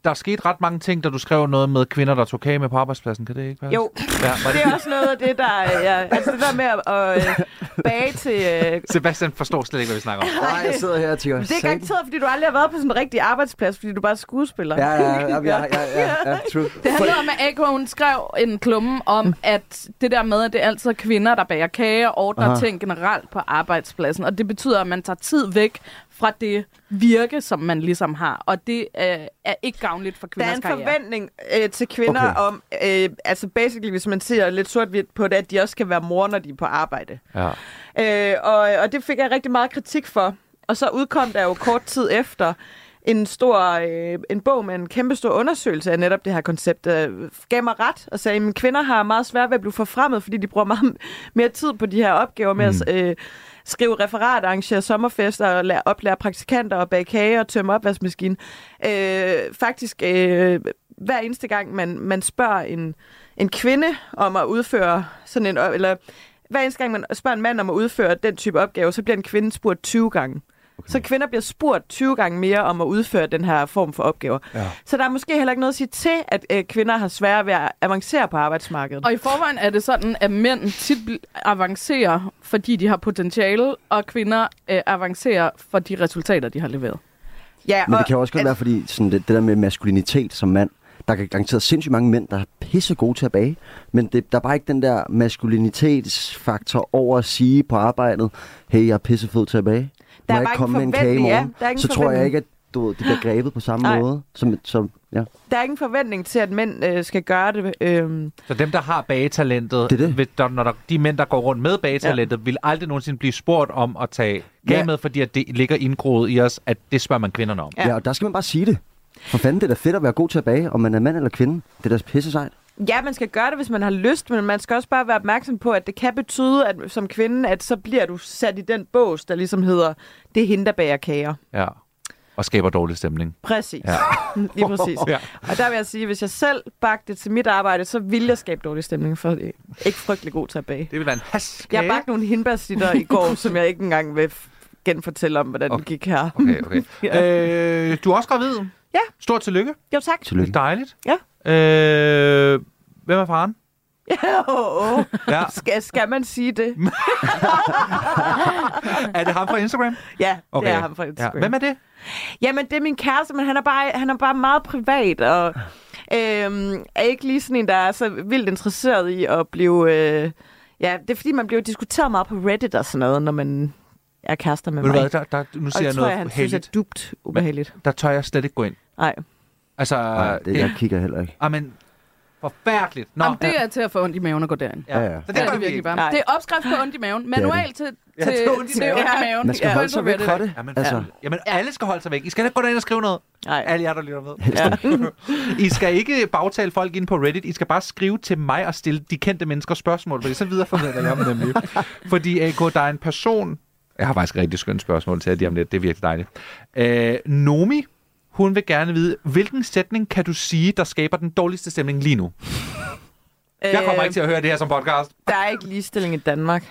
der er sket ret mange ting, da du skrev noget med kvinder, der tog kage med på arbejdspladsen. Kan det ikke være?
Jo.
Ja, var
Det er
det,
også noget af det, der... øh, Ja, altså det der med at øh, bage til... Øh,
Sebastian forstår slet ikke, hvad vi snakker om.
Nej, jeg sidder her og tænker,
det er garanteret, fordi du aldrig har været på sådan en rigtig arbejdsplads, fordi du bare er skuespiller.
Ja, ja, ja, ja, ja, ja, ja, true.
Det handler om, at AK hun skrev en klumme om, at det der med, at det er altid er kvinder, der bager kager og ordner
Aha.
ting generelt på arbejdspladsen. Og det betyder, at man tager tid væk fra det virke, som man ligesom har. Og det øh, er ikke gavnligt for
Der er
kvinders
en
karriere.
forventning øh, til kvinder
Okay.
okay. om, øh, altså basically, hvis man ser lidt sort-hvidt på det, at de også skal være mor, når de er på arbejde.
Ja.
Øh, og, og det fik jeg rigtig meget kritik for. Og så udkom der jo kort tid efter en stor øh, en bog med en kæmpe stor undersøgelse af netop det her koncept. Øh, gav mig ret og sagde, at kvinder har meget svært ved at blive forfremmet, fordi de bruger meget mere tid på de her opgaver med mm. at øh, skrive referater, arrangere sommerfester, og lære, oplære praktikanter og bage kage og tømme opvaskemaskinen. Øh, faktisk øh, hver eneste gang, man, man spørger en, en kvinde om at udføre sådan en... op- Eller, hver eneste gang, man spørger en mand om at udføre den type opgave, så bliver en kvinde spurgt 20 gange. Okay. Så kvinder bliver spurgt 20 gange mere om at udføre den her form for opgaver. Ja. Så der er måske heller ikke noget at sige til, at øh, kvinder har svært ved at avancere på arbejdsmarkedet.
Og i forvejen er det sådan, at mænd tit bl- avancerer, fordi de har potentiale, og kvinder øh, avancerer for de resultater, de har leveret.
ja,
Men det kan jo også godt være, fordi sådan det, det der med maskulinitet som mand, der kan garanteret sindssygt mange mænd, der er pisse gode til at bage, men det, der er bare ikke den der maskulinitetsfaktor over at sige på arbejdet, hey, jeg er pisse fed til at bage.
Der
Må
er
jeg ikke
bare ikke
komme med en kage i
forventning, ja.
morgen?
Der er ingen
så tror jeg
forventning.
ikke, at du, ved, det bliver grebet på samme
Nej.
måde. Som, som, ja.
der er ingen forventning til, at mænd øh, skal gøre det. Øh,
Så dem, der har bagetalentet,
Det er det.
vil- Der, når der, de mænd, der går rundt med bagetalentet, ja. vil aldrig nogensinde blive spurgt om at tage
Ja.
gamet, fordi at det ligger indgroet i os, at det spørger man kvinderne om.
ja, og der skal man bare sige det. For fanden, det er da fedt at være god til at bage, om man er mand eller kvinde. Det er da pisse sejt.
Ja, man skal gøre det, hvis man har lyst, men man skal også bare være opmærksom på, at det kan betyde, at som kvinde, at så bliver du sat i den bås, der ligesom hedder, det er hende, der bager kager.
Ja. Og skaber dårlig stemning.
Præcis.
Ja.
Ja. Lige præcis.
Ja.
ja. Og der vil jeg sige, at hvis jeg selv bagte det til mit arbejde, så ville jeg skabe dårlig stemning, for det er ikke frygtelig god til at bage.
Det vil være en haskage.
Jeg bagte nogle hindbærsitter i går, som jeg ikke engang vil f- genfortælle om, hvordan okay.
Okay.
det gik her.
Okay, okay. ja. øh, du er også gravid.
Ja.
Stort tillykke.
Jo, tak.
Tillykke.
Dejligt.
Ja.
Øh, hvem er faren?
Oh, oh.
Ja.
Skal, skal man sige det?
Er det ham fra Instagram?
Ja, okay.
Okay.
det er ham fra Instagram.
Ja. Hvem er det?
Jamen, det er min kæreste, men han er bare, han er bare meget privat, og
Ah.
øhm, er ikke lige sådan en, der er så vildt interesseret i at blive... Øh, ja, det er fordi, man bliver jo diskuteret meget på Reddit og sådan noget, når man er kærester med
Ved du
mig.
hvad, der, der, nu
og
siger
det
jeg
tror
noget
jeg, han synes
heldigt.
er dubt ubehageligt.
Der tør jeg slet ikke gå ind.
Nej.
Altså,
Nej, det, jeg kigger heller ikke.
Ah, men forfærdeligt. Nå,
Nå, Jamen, det er til at få ondt i maven at gå derind.
Ja, ja.
Så det,
Det er
gør vi
det virkelig
ikke.
bare.
Nej.
Det er opskrift på ondt i maven.
er det.
Manual til,
Ja,
til,
til ondt i
til
maven.
ondt i maven.
Man skal
Ja.
holde sig væk
Reddit.
fra det.
Jamen, altså,
Altså,
jamen alle skal holde sig væk. I skal da gå derind og skrive noget.
Nej.
Alle jer, der lytter med. I skal ikke bagtale folk ind på Reddit. I skal bare skrive til mig og stille de kendte mennesker spørgsmål, fordi så videreformidler jeg dem nemlig. Fordi AK, der er en person... Jeg har faktisk et rigtig skønt spørgsmål til jer lige om lidt. Det er virkelig dejligt. Øh, Nomi, hun vil gerne vide, hvilken sætning kan du sige, der skaber den dårligste stemning lige nu? Jeg kommer
Øh,
ikke til at høre det her som podcast.
Der er ikke ligestilling i Danmark.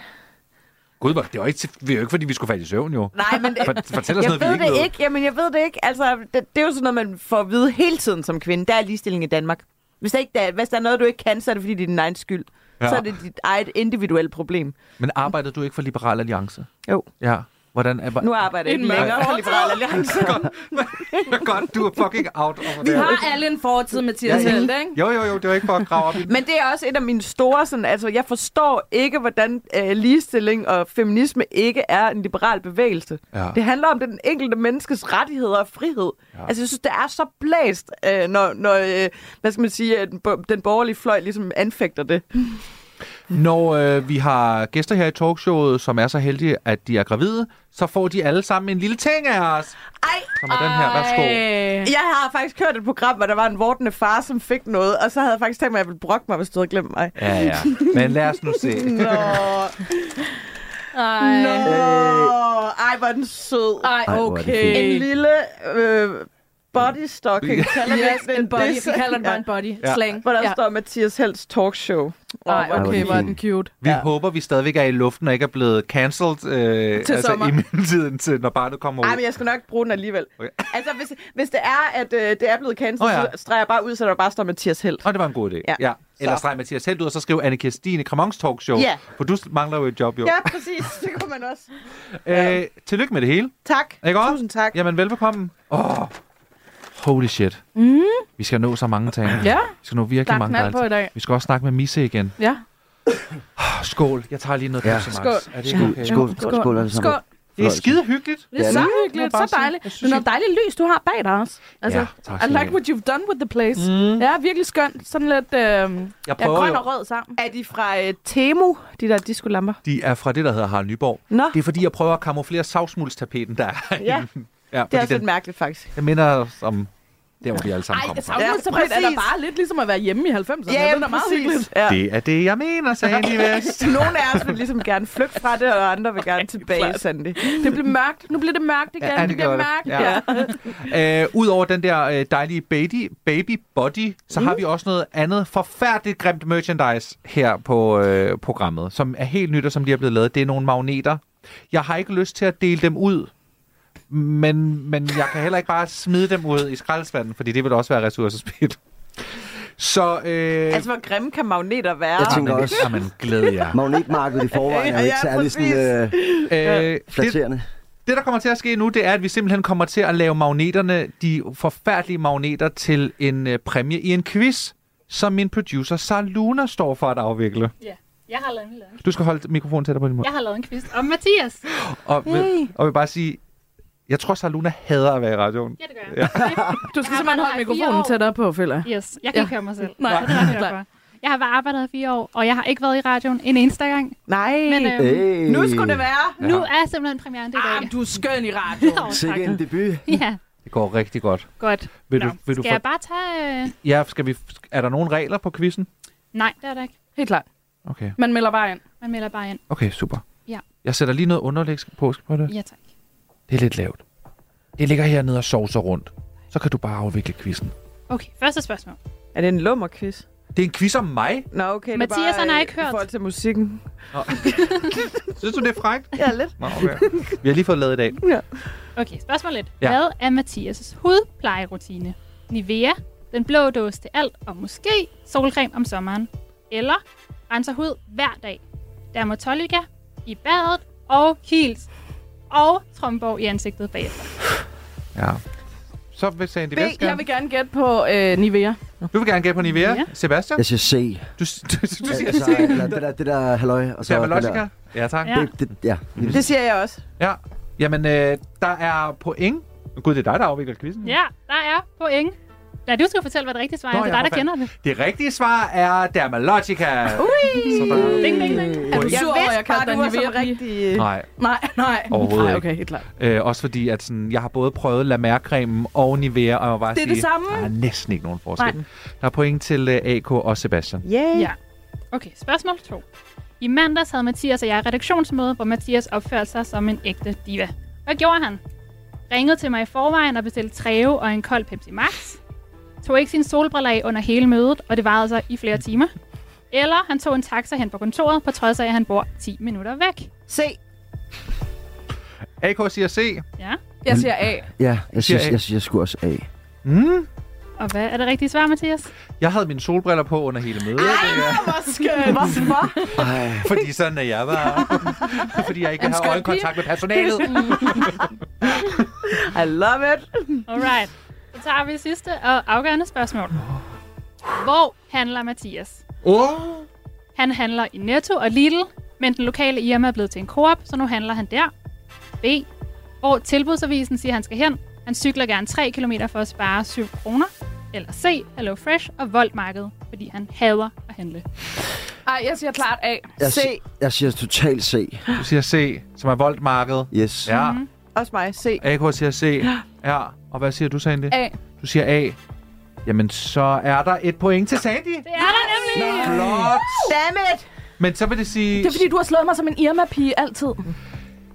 Gud, hvor- det var ikke, til- vi er jo ikke, fordi vi skulle falde i søvn, jo.
Nej, men det,
For- fortæl os
jeg
noget, vi
ved
ikke
det
ved.
ikke. Jamen, jeg ved det ikke. Altså, det, det er jo sådan noget, man får at vide hele tiden som kvinde. Der er ligestilling i Danmark. Hvis der, ikke, der, hvis der er noget, du ikke kan, så er det fordi, det er din egen skyld.
Ja.
Ja. Så er det dit eget individuelle problem.
Men arbejdede du ikke for Liberal Alliance?
Jo.
Ja. Hvordan er...
Nu arbejder jeg
En
ikke
mørk
længere for Liberal Alliance.
Godt, godt, du er fucking out. over
Vi
det.
har alle en fortid, Mathias Helt, ikke?
Jo, jo, jo, det var ikke for at grave op i den.
Men det er også et af mine store... Sådan, altså, jeg forstår ikke, hvordan øh, ligestilling og feminisme ikke er en liberal bevægelse.
Ja.
Det handler om den enkelte menneskes rettigheder og frihed. Ja. Altså, jeg synes, det er så blæst, øh, når, når øh, hvad skal man sige, at den, bo- den borgerlige fløj ligesom anfægter det.
Når øh, vi har gæster her i talkshowet, som er så heldige, at de er gravide, så får de alle sammen en lille ting af os.
Ej,
Som er den her. Værsgo.
Ej.
jeg har faktisk hørt et program, hvor der var en vortende far, som fik noget, og så havde jeg faktisk tænkt mig, at jeg ville brokke mig, hvis du havde glemt mig.
Ja, ja. Men lad os nu se.
Nå,
Ej.
Nå. ej, hvor er den sød.
Ej,
Ej, hvor er det fint.
okay.
En lille øh, body stocking. Kalder vi
Yes,
ikke
en body.
Det
Vi
er-
kalder den bare
Ja.
en body.
Ja.
Slang.
Hvor der
Ja.
ja. står Mathias Helds talkshow.
Ej,
hvor er
okay,
det
hvor er den
fint.
cute.
Vi ja. håber, vi stadigvæk er i luften og ikke er blevet cancelled øh,
Til
altså,
sommer.
i mellemtiden, til, når barnet kommer ud.
Ej, men jeg skal nok bruge den alligevel.
Okay.
Okay. Altså, hvis, hvis det er, at øh, det er blevet cancelled,
Åh,
oh,
ja.
ja. så streger jeg bare ud, så der bare står Mathias Held.
Og det var en god idé.
Ja.
ja. Eller
Så.
streg Mathias helt ud, og så skriv Anne Kirstine Kramons talkshow.
Ja.
For du mangler jo et job, jo.
Ja, præcis. Det kunne man også.
Øh, tillykke med det hele.
Tak.
Ikke også?
Tusind tak.
Jamen, velbekomme. Åh, holy shit. Mm. Vi skal nå så mange ting. Vi
Ja,
skal nå virkelig
der er
mange
knald på i
dejlige-
dag.
Vi skal også snakke med Misse igen.
Ja.
Åh, skål. Jeg tager lige noget
Ja.
ja.
Skål.
Er det
skål,
okay?
skål, skål, alle sammen.
Skål.
Det er
fornøjelse.
skide hyggeligt.
Det er
Ja,
så
det-
hyggeligt,
må jeg bare
så
sige.
dejligt.
Jeg synes,
Synes, det er
jeg-
noget dejligt lys, du har bag dig også. Altså,
Ja, tak
I
skal du
like
have.
what you've done with the place. Mm. Ja, virkelig skønt. Sådan lidt øh, ja,
prøver
grøn
jo-
og rød sammen.
Er de fra øh, Temo, de der diskolamper?
De er fra det, der hedder Harald Nyborg.
Nå.
Det er fordi, jeg prøver at kamuflere savsmuldstapeten, der er
Ja,
Ja,
det er
fordi
også
den,
lidt mærkeligt, faktisk.
den minder os om der, hvor vi alle sammen
Ej,
kommer fra.
savnet
Ja,
så bredt er
præcis.
da bare lidt ligesom at være hjemme i 90'erne. Ja, det er da meget hyggeligt.
Ja.
Det er det, jeg mener, sagde Andy Vest.
Nogle af os vil ligesom gerne flygte fra det, og andre vil gerne tilbage, Sandy.
Det blev mørkt. Nu bliver det mørkt igen.
Ja, det
det, bliver
gjorde det.
mørkt.
Ja.
Ja. Ja.
Øh, Udover den der øh, dejlige baby, baby body, så har vi også noget andet forfærdeligt grimt merchandise her på øh, programmet, som er helt nyt og som lige er blevet lavet. Det er nogle magneter. Jeg har ikke lyst til at dele dem ud, men, men jeg kan heller ikke bare smide dem ud i skraldespanden, fordi det vil også være ressourcespild. Så øh,
Altså, hvor grimme kan magneter være?
Jeg tænker
jamen,
også-
jamen, glæder jer.
Magnetmarkedet i forvejen er jo
Ja,
ikke særlig
præcis.
sådan,
Øh,
øh,
det,
flatterende.
Det, der kommer til at ske nu, det er, at vi simpelthen kommer til at lave magneterne, de forfærdelige magneter, til en øh, præmie i en quiz, som min producer Sara Luna står for at afvikle.
Ja, jeg har lavet en, lavet.
Du skal holde mikrofonen tættere på din mund.
Jeg har lavet en quiz om Mathias.
Og, vil, og vil bare sige, jeg tror, Sara Luna hader at være i radioen.
Ja, det gør jeg. Ja.
Du skal simpelthen holde mikrofonen tættere på, føler jeg.
Yes, jeg kan ikke høre mig selv.
Nej.
Nej, det er jeg for. Jeg har bare arbejdet her fire år, og jeg har ikke været i radioen en eneste gang.
Nej,
Men øh,
Hey.
Øhm, nu skulle det være.
nu er simpelthen premieren det i dag.
Ah, du er skøn i radio.
Nå, tak.
Sikke en debut.
Ja,
Det går rigtig godt.
godt.
Vil
Nå,
du, vil du
skal
få,
jeg bare tage... Øh...
ja, skal vi, er der nogen regler på quizzen?
Nej, det er der ikke.
Helt klart.
Okay,
Man melder bare ind.
Man melder bare ind.
okay super.
Ja.
Jeg sætter lige noget underlæg på. Skal på det?
Ja, tak.
det er lidt lavt. Det ligger hernede og sovser rundt. Så kan du bare afvikle quizzen.
Okay, første spørgsmål.
Er det en lummerquiz?
Det er en quiz om mig.
Nå, okay. det er
Mathias,
bare,
han har
øh,
ikke hørt.
I forhold til musikken.
Synes du, det er frækt?
Ja, lidt.
Nå, okay. Vi har lige fået lavet i dag.
Okay, spørgsmål lidt.
Ja.
Ja. Hvad er Mathias' hudplejerutine? Nivea, den blå dåse til alt, og måske solcreme om sommeren. Eller renser hud hver dag. Dermotollica i badet, og kils og tromborg i ansigtet bagefter.
Ja. Så vil Sandy Vest
Jeg
gerne.
vil gerne gætte på øh, Nivea.
Du vil gerne gætte på Nivea.
Ja.
Sebastian?
Jeg siger C.
Du, du, du siger
Altså, eller det der, det der halløj. Og så
ja,
den der-
Velogica. Ja, tak.
Ja.
Det, det, ja.
Det siger jeg også.
Ja. Jamen, øh, der er point. Gud, det er dig, der afvikler quizzen.
Ja, der er point. Nej, du skal fortælle, hvad det rigtige svar er.
Nå,
Det
ja,
er dig,
for
der
fanden.
kender det.
Det rigtige svar er Dermalogica. Ui! Sådan.
Ding, ding, ding.
Er du
Jeg
sur over, at
vidste
jeg
bare,
kaldte dig
du var sådan
Nivea?
rigtig...
Nej,
Nej, nej.
Overhovedet
nej,
ikke.
okay, helt klart.
øh, også fordi, at sådan, jeg har både prøvet La Mer-cremen og Nivea, og jeg må bare
Det er
sige,
det samme.
der er næsten ikke nogen forskel. Nej. Der er point til øh, AK og Sebastian.
Yay.
Ja. Okay, spørgsmål 2. I mandags havde Mathias og jeg et redaktionsmøde, hvor Mathias opførte sig som en ægte diva. Hvad gjorde han? Ringede til mig i forvejen og bestilte træve og en kold Pepsi Max. Tog ikke sin solbriller af under hele mødet, og det varede sig i flere timer. Eller han tog en taxa hen på kontoret, på trods af, at han bor 10 minutter væk.
Se.
AK siger C.
Ja,
Jeg siger A.
Ja, jeg synes,
A.
jeg, jeg, jeg skulle også A.
Mm.
og hvad er det rigtige svar, Mathias?
Jeg havde mine solbriller på under hele mødet. det er-
Hvorfor?
Ej,
Fordi sådan er jeg bare. Fordi jeg ikke
En
har
skøn
øjenkontakt med personalet.
I love it.
Alright, så tager vi sidste og afgørende spørgsmål. Hvor handler Mathias?
Oh.
Han handler i Netto og Lidl, men den lokale Irma er blevet til en Coop, så nu handler han der. B. Hvor tilbudsavisen siger, han skal hen. Han cykler gerne 3 km for at spare 7 kroner. Eller C. Hello Fresh og Voldmarked, fordi han hader at handle.
Ej, jeg siger klart A.
jeg,
Se.
si- jeg siger totalt C.
Du siger C, som er voldmarkedet.
Yes.
Ja.
Også mig. Se.
AK siger C. Ja. Og hvad siger du, Sandy?
A.
Du siger A. Jamen, så er der et point til Sandy.
Det er der nemlig!
Flot.
Damn it.
Men så vil det sige,
Det er fordi, du har slået mig som en Irma-pige altid.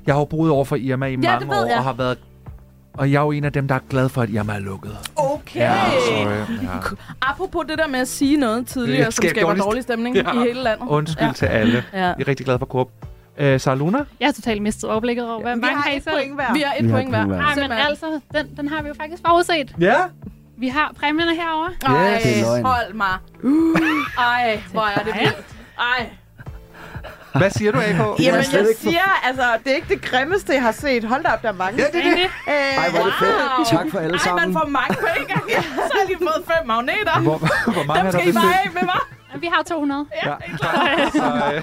jeg har jo boet over for Irma i
det
mange
ved
år,
jeg.
og har været og jeg er jo en af dem, der er glad for, at Irma er lukket.
Okay.
sorry. Ja.
Apropos det der med at sige noget
Det
tidligere, som
skaber
skaber
dårlig
dårlig stemning
Ja.
i hele landet.
Undskyld ja. til alle.
Ja.
Jeg er rigtig glad for Coop. Øh, Sara Luna?
Jeg har totalt mistet overblikket over, hvad
Vi
mange
har
har I
et
selv.
point hver.
Vi har et
Vi har
point
et
hver.
point hver.
Ej, men altså, den, den har vi jo faktisk forudset.
Ja.
Vi har præmierne herovre.
Ja, det er løgn.
Ej, hold mig. Ej, hvor er Uh, det vildt. Ej.
Hvad siger du, AK?
Jamen,
slet
jeg
ikke for-
siger, altså, det er ikke det grimmeste, jeg har set. Hold da op, der er mange.
Ja, det er det.
Øh,
Ej, hvor er det fedt.
Wow.
Tak for alle
Ej, man
sammen.
får mange på en gang. Så har de fået fem magneter.
Hvor, hvor mange
Dem
har
skal
du
I bare
bestilt?
af med mig.
Men vi har 200.
Ja. Så, øh,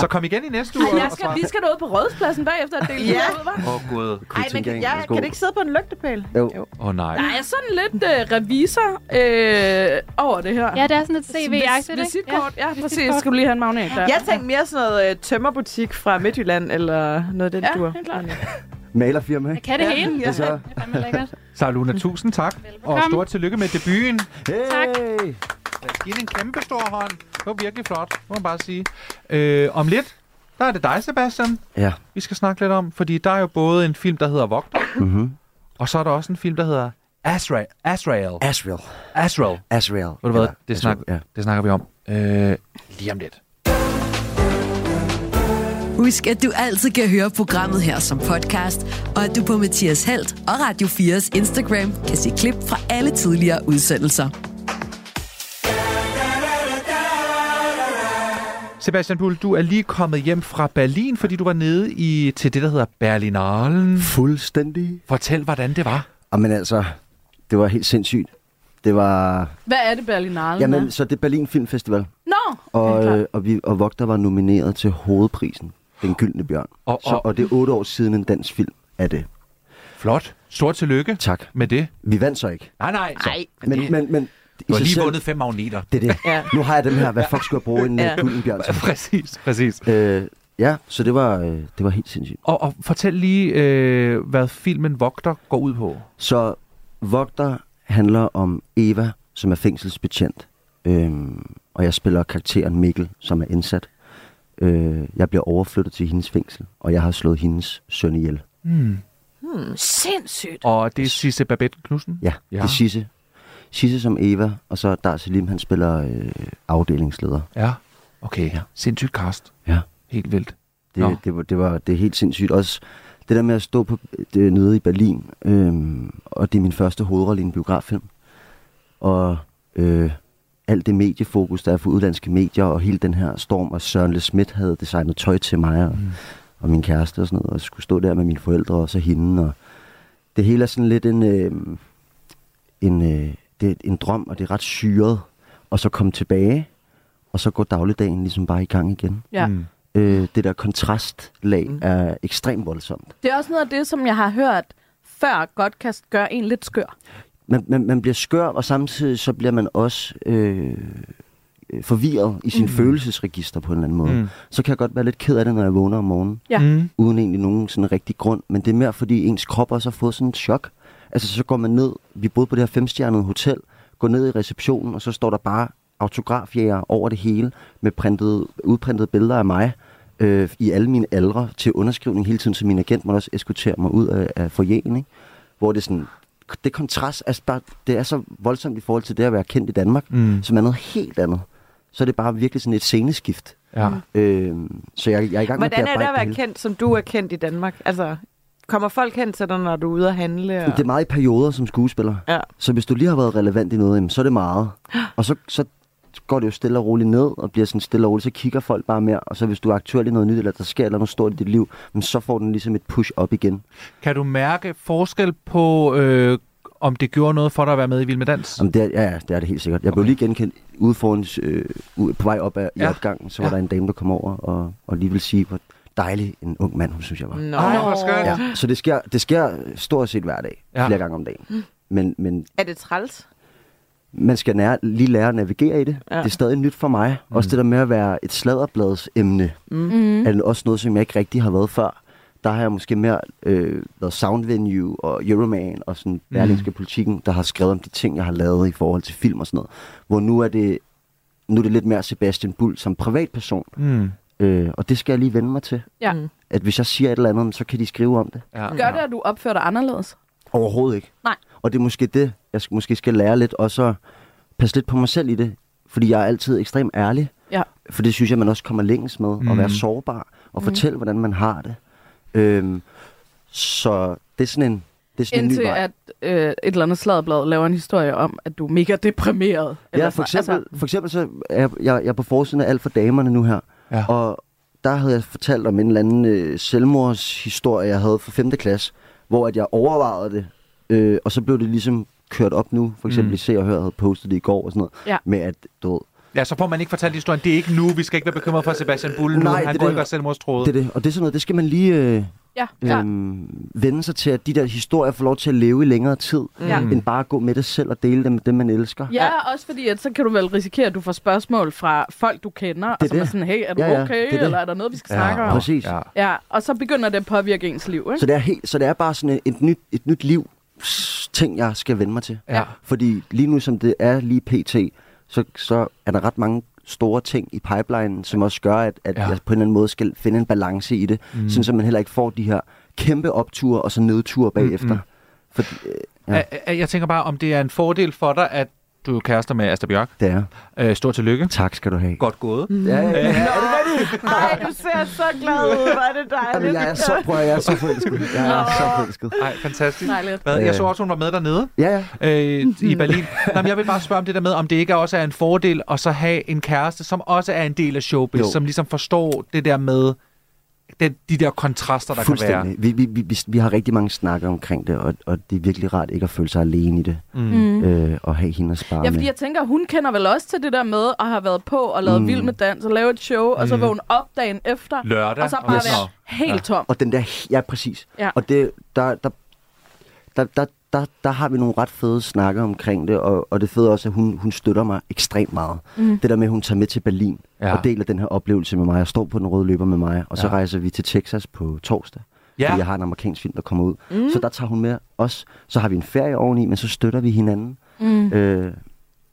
så kom igen i næste uge.
Ej, jeg
og
skal,
svar.
vi skal derud på Rådhuspladsen bagefter og dele
Ja.
ja. ud, hva'?
Åh, oh, gud.
Ej, men kan, jeg, kan det ikke sidde på en lygtepæl?
Jo.
Åh, oh, nej.
Der er sådan lidt øh, revisor øh, over det her.
Ja, det er sådan et CV-agtigt, ikke?
Visitkort, ja, ja præcis. Skal du lige have en magnet der?
Jeg tænkte mere sådan noget øh, tømmerbutik fra Midtjylland, eller noget af den
ja,
dur.
helt klart.
Malerfirma,
Jeg
ikke?
kan det hele.
Det er så.
Det er fandme lækkert.
Så Luna, tusind tak. Og
Velbekomme.
stort tillykke med debuten.
Hey!
Tak.
Lad os give den en kæmpe stor hånd. Det var virkelig flot, må man bare sige. Øh, om lidt, der er det dig, Sebastian,
Ja.
vi skal snakke lidt om. Fordi der er jo både en film, der hedder Vogter,
Mm-hmm.
og så er der også en film, der hedder Azrael. Azrael.
Asriel.
Azrael.
Asriel.
Ved du hvad?
Ja,
Det, snak,
Asriel, Ja.
det snakker vi om øh, lige om lidt.
Husk, at du altid kan høre programmet her som podcast, og at du på Mathias Helt og Radio 4's Instagram kan se klip fra alle tidligere udsendelser.
Sebastian Bull, du er lige kommet hjem fra Berlin, fordi du var nede i, til det, der hedder Berlinalen.
Fuldstændig.
Fortæl, hvordan det var.
Jamen altså, det var helt sindssygt. Det var...
Hvad er det, Berlinalen
Jamen,
er?
så det er Berlin Film Festival.
Nå!
Og,
klart.
øh, og, vi, og Vogter var nomineret til hovedprisen, Den Gyldne Bjørn.
Og-
så,
og-
og det er otte år siden en dansk film af det.
Flot. Stort tillykke
Tak.
med det.
Vi vandt så ikke.
Nej, nej. Så,
Men,
det-
men, men
du
i
har
sig
lige
selv-
vundet fem magneter.
Det er det.
Ja.
Ja. Nu har jeg dem her. Hvad fuck skulle jeg bruge en
Ja.
ja. Gylden Bjørn til?
Præcis, præcis.
Øh, ja, så det var, øh, det var helt sindssygt.
Og, og fortæl lige, øh, hvad filmen Vogter går ud på.
Så Vogter handler om Eva, som er fængselsbetjent. Øhm, og jeg spiller karakteren Mikkel, som er indsat. Øh, jeg bliver overflyttet til hendes fængsel, og jeg har slået hendes søn ihjel.
Hmm.
Sindssygt.
Og det er Sisse Babette Knudsen?
Ja, ja. det er Sisse. Sisse som Eva, og så Dar Selim, han spiller øh, afdelingsleder.
Ja. Okay, ja. sindssygt cast.
Ja.
Helt vildt. Nå.
Det, det, var, det var det er helt sindssygt. Også det der med at stå på, det, nede i Berlin, øhm, og det er min første hovedrolle i en biograffilm. Og øh, alt det mediefokus, der er for udlandske medier, og hele den her storm, og Søren Le Schmidt havde designet tøj til mig, og, mm. og min kæreste og sådan noget, og skulle stå der med mine forældre, og så hende. Og det hele er sådan lidt en, øh, en, øh, det er en drøm, og det er ret syret. Og så komme tilbage, og så går dagligdagen ligesom bare i gang igen
Ja.
Mm.
øh, det der kontrastlag mm. er ekstremt voldsomt.
Det er også noget af det, som jeg har hørt før godt kan gøre en lidt skør.
Man, man, man bliver skør, og samtidig så bliver man også øh, øh, forvirret i sin mm. følelsesregister på en eller anden måde.
Mm.
Mm. Så kan jeg godt være lidt ked af det, når jeg vågner om morgenen,
Ja.
Mm.
uden egentlig nogen sådan rigtig grund. Men det er mere, fordi ens krop også har fået sådan et chok. Altså, så går man ned, vi boede på det her femstjernede hotel, går ned i receptionen, og så står der bare autografjæger over det hele, med printede, udprintede billeder af mig, øh, i alle mine aldre til underskrivning hele tiden, så min agent måtte også eskortere mig ud af, af forjen, ikke? hvor det er sådan, det kontrast, altså bare, det er så voldsomt i forhold til det at være kendt i Danmark,
Mm.
mm. som er noget helt andet. Så er det bare virkelig sådan et sceneskift.
Ja.
Øh, så jeg, jeg er i gang med
Hvordan er det
bearbejde
at være
hele.
kendt, som du er kendt i Danmark? Altså, kommer folk hen til dig, når du er ude at handle? Og...
Det er meget i perioder som skuespiller.
Ja.
Så hvis du lige har været relevant i noget, jamen, så er det meget. Og så, så går det jo stille og roligt ned, og bliver sådan stille og roligt, så kigger folk bare mere. Og så hvis du er aktuel i noget nyt, eller der sker eller noget stort i dit liv, men så får den ligesom et push op igen.
Kan du mærke forskel på, øh, om det gjorde noget for dig at være med i Vild Med Dans?
Jamen, det er, ja, ja, det er det helt sikkert. Jeg blev
Okay.
lige genkendt ude foran, øh, ude- på vej op ad, i
Ja.
opgangen, så var
Ja.
ja. der en dame, der kom over og, og lige ville sige, hvor dejlig en ung mand, hun synes jeg var.
Nå.
Ej, hvor skønt.
Ja, så det sker, det sker stort set hver dag,
Ja.
ja. flere gange om
Mm.
dagen. Men, men
Er det træls?
man skal nære, lige lære at navigere i det.
Ja.
Ja. Det er stadig nyt for mig. Mm. Også det der med at være et sladderbladsemne, mm. er også noget, som jeg ikke rigtig har været før. Der har jeg måske mere øh, været Soundvenue og Euroman og sådan Berlingske Politikken, der har skrevet om de ting, jeg har lavet i forhold til film og sådan noget. Hvor nu er det, nu er det lidt mere Sebastian Bull som privatperson.
Mm.
Øh, og det skal jeg lige vende mig til.
Ja.
At hvis jeg siger et eller andet, så kan de skrive om det.
Ja.
Gør det, at du opfører dig anderledes?
Overhovedet ikke.
Nej.
Og det er måske det, jeg skal, måske skal lære lidt, og så passe lidt på mig selv i det. Fordi jeg er altid ekstremt ærlig.
Ja.
For det synes jeg, man også kommer længst med. Mm. At
Mm.
være sårbar og fortælle, hvordan man har det. Øhm, så det er sådan en, det er sådan en
Indtil
ny vej.
at øh, et eller andet sladblad laver en historie om, at du er mega deprimeret.
Ja,
Eller
for
sådan-
eksempel, altså... for eksempel så er jeg, jeg, jeg er på forsiden af Alt for damerne nu her.
Ja.
Og der havde jeg fortalt om en eller anden øh, selvmordshistorie, jeg havde fra 5. klasse, hvor at jeg overvejede det, øh, og så blev det ligesom kørt op nu. For eksempel
Mm.
mm. Se og Hør havde postet det i går og sådan noget,
Ja.
med at, du ved,
Ja, så får man ikke fortalt historien. Det er ikke nu. Vi skal ikke være bekymret for Sebastian Bull nu.
Nej,
Han
det
går
der-
ikke og selvmordstroede.
Det er det. Og det er sådan noget, det skal man lige øh,
Altså, Ja, ja.
øhm, vende sig til, at de der historier får lov til at leve i længere tid,
Ja.
end bare at gå med det selv og dele det med dem, man elsker.
Ja, også fordi, at så kan du vel risikere, at du får spørgsmål fra folk, du kender, og
Det er
som er
det.
sådan, hey, er du
Ja, ja,
okay,
det er det.
eller er der noget, vi skal
Ja,
snakke om?
Præcis.
Ja.
Ja, og så begynder det at påvirke ens liv, ikke?
Så det er, helt, så det er bare sådan et nyt, et nyt liv s- ting, jeg skal vende mig til.
Ja.
Fordi lige nu, som det er lige pt., så, så er der ret mange store ting i pipelinen, som også gør, at, at
Ja.
ja. jeg på en eller anden måde skal finde en balance i det, mm. sådan så man heller ikke får de her kæmpe opture og så nedture bagefter. Mm-hmm. Fordi, øh, ja,
Ja. Jeg tænker bare, om det er en fordel for dig, at du er kærester med Asta Bjørk.
det er.
Øh, stor tillykke.
Tak skal du have.
Godt gået.
Ja, ja, ja.
Ej, du ser så glad ud. Hvor er det
Jamen,
dejligt.
jeg er så, prøv, at- jeg er så forelsket. Jeg er så forelsket.
Nej, fantastisk.
Dejligt.
Hvad? Jeg
Øh.
så også, hun var med dernede
Ja, ja.
øh, i Berlin. Nå, men jeg vil bare spørge om det der med, om det ikke også er en fordel at så have en kæreste, som også er en del af showbiz, jo.
Jo.
som ligesom forstår det der med den, de der kontraster, der kan være.
Fuldstændig. Vi, vi, vi, vi, vi har rigtig mange snakker omkring det, og, og det er virkelig rart ikke at føle sig alene i det, mm. øh, og have hende at spare
Ja,
med.
fordi jeg tænker, hun kender vel også til det der med at have været på og lavet mm. vild med dans og lavet et show, og så var hun op dagen efter,
Lørdag.
og så bare
Yes.
yes. være helt tom.
Og den der, Mm. ja præcis.
Ja.
Og det, der, der, der, der, der, der har vi nogle ret fede snakker omkring det, og, og det fede også, at hun, hun støtter mig ekstremt meget. Mm. Det der med, at hun tager med til Berlin
Ja.
ja. og deler den her oplevelse med mig, og står på den røde løber med mig, og så
Ja.
ja. rejser vi til Texas på torsdag.
Ja.
Ja. Fordi jeg har en amerikansk film, der kommer ud. Mm. Så der tager hun med os. Så har vi en ferie oveni, men så støtter vi hinanden. Mm. Øh,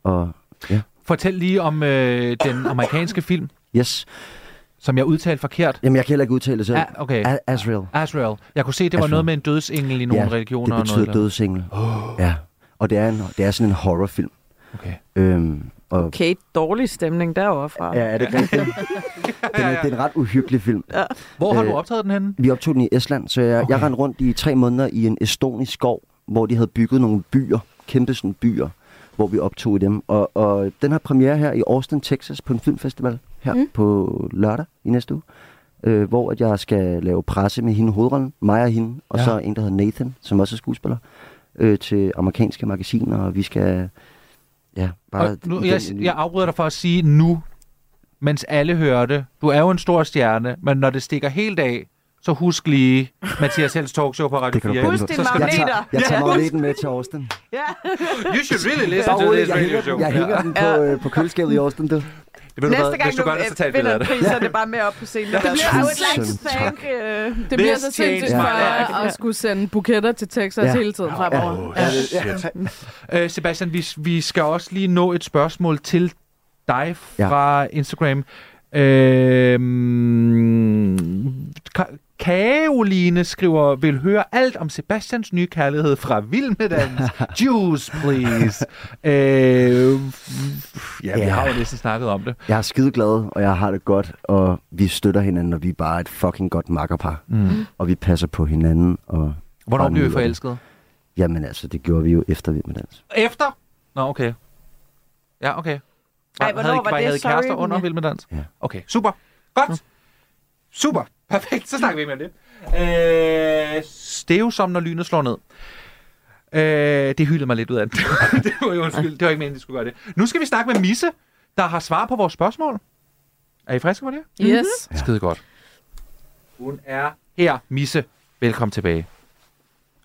og ja,
Fortæl lige om øh, den amerikanske film,
yes.
som jeg udtalte forkert.
Jamen, jeg kan heller ikke udtale det selv.
Ah, okay.
A- Azrael.
Azrael. Jeg kunne se, det var
Azrael.
noget med en dødsengel i nogle
ja,
religioner.
det
og
betyder
noget der.
dødsengel. Oh. Ja, og det er, en, det er sådan en horrorfilm.
Okay.
Øhm, og, okay.
Okay, dårlig stemning derovre fra.
Ja, er det ikke rigtigt? Den er, det er en ret uhyggelig film. Ja.
Hvor har
Øh,
du optaget den henne?
Vi optog den i Estland, så jeg, okay. jeg
Okay.
rendte rundt i tre måneder i en estonisk skov, hvor de havde bygget nogle byer, kæmpe sådan byer, hvor vi optog i dem. Og, og den har premiere her i Austin, Texas på en filmfestival her mm. på lørdag i næste uge. Øh, hvor at jeg skal lave presse med hende i hovedrollen, mig og hende, og
Ja.
ja. så en, der hedder Nathan, som også er skuespiller, øh, til amerikanske magasiner, og vi skal... Ja, bare...
Og nu,
igen
jeg,
en ny-
jeg afbryder dig for at sige nu, mens alle hører det. Du er jo en stor stjerne, men når det stikker helt af, så husk lige Mathias Helds talkshow på Radio
Det kan
4.
du godt
Husk din
så skal
Jeg
du...
tager, jeg tager magneten med til Austin.
You should really listen
Bare
to
roligt,
this
jeg
radio
hænger,
show.
den- jeg hænger den på, øh, på køleskabet i Austin, du.
Det ved du hvad,
Næste gang, øh,
hvis du gør det, så tag et billede af det.
så er det bare med op på scenen. Det
I would like to
Tusind
thank, øh, det bliver
This
så
changed
sindssygt
my
for
life.
at skulle sende buketter til Texas
Ja.
hele tiden fremover.
Oh,
Ja.
shit.
Øh, Sebastian, vi, vi skal også lige nå et spørgsmål til dig fra ja. Instagram. Øh, Karoline Øhm, skriver, vil høre alt om Sebastians nye kærlighed fra Vild med Dans. Juice, please. øh, ja, vi
Ja.
har jo næsten snakket om det.
Jeg er skide glad, og jeg har det godt, og vi støtter hinanden, og vi er bare et fucking godt makkerpar. Mm. Og vi passer på hinanden, og...
Hvornår
og
blev I
nyder det.
forelsket?
Jamen altså, det gjorde vi jo efter vi med dans.
Efter? Nå, okay. Ja, okay.
Ej,
Var-
hvornår
havde, I-
var
var I
det?
havde
Sorry,
kærester
men-
under Vild med Dans?
Ja.
Okay, super. Godt. Super. Perfekt. Så snakker vi ikke mere om det. Øh, Steve som når lynet slår ned. Øh, det hyldede mig lidt ud af det. det var jo undskyld. Det var ikke meningen, at de skulle gøre det. Nu skal vi snakke med Misse, der har svar på vores spørgsmål. Er I friske på det?
Yes.
Mm-hmm.
Ja. Skide godt. Hun er her. Misse, velkommen tilbage.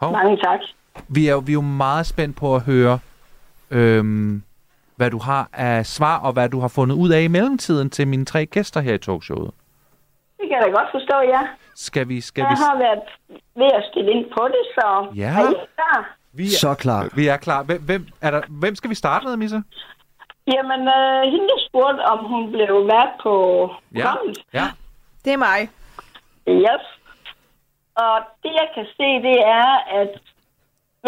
Hov.
Mange tak.
Vi er, jo- vi er jo meget spændt på at høre, øhm, hvad du har af svar, og hvad du har fundet ud af i mellemtiden til mine tre gæster her i talkshowet.
Det kan jeg da godt forstå, ja.
Skal vi... Skal vi,
Jeg har været ved at stille ind på det, så
Ja.
er I klar?
vi,
Ja. Så klar.
vi er klar. Hvem, hvem, er der, hvem skal vi starte med, Misse?
Jamen, øh, hende der spurgte, om hun blev vært på programmet.
ja.
Det er mig.
Yes. Og det, jeg kan se, det er, at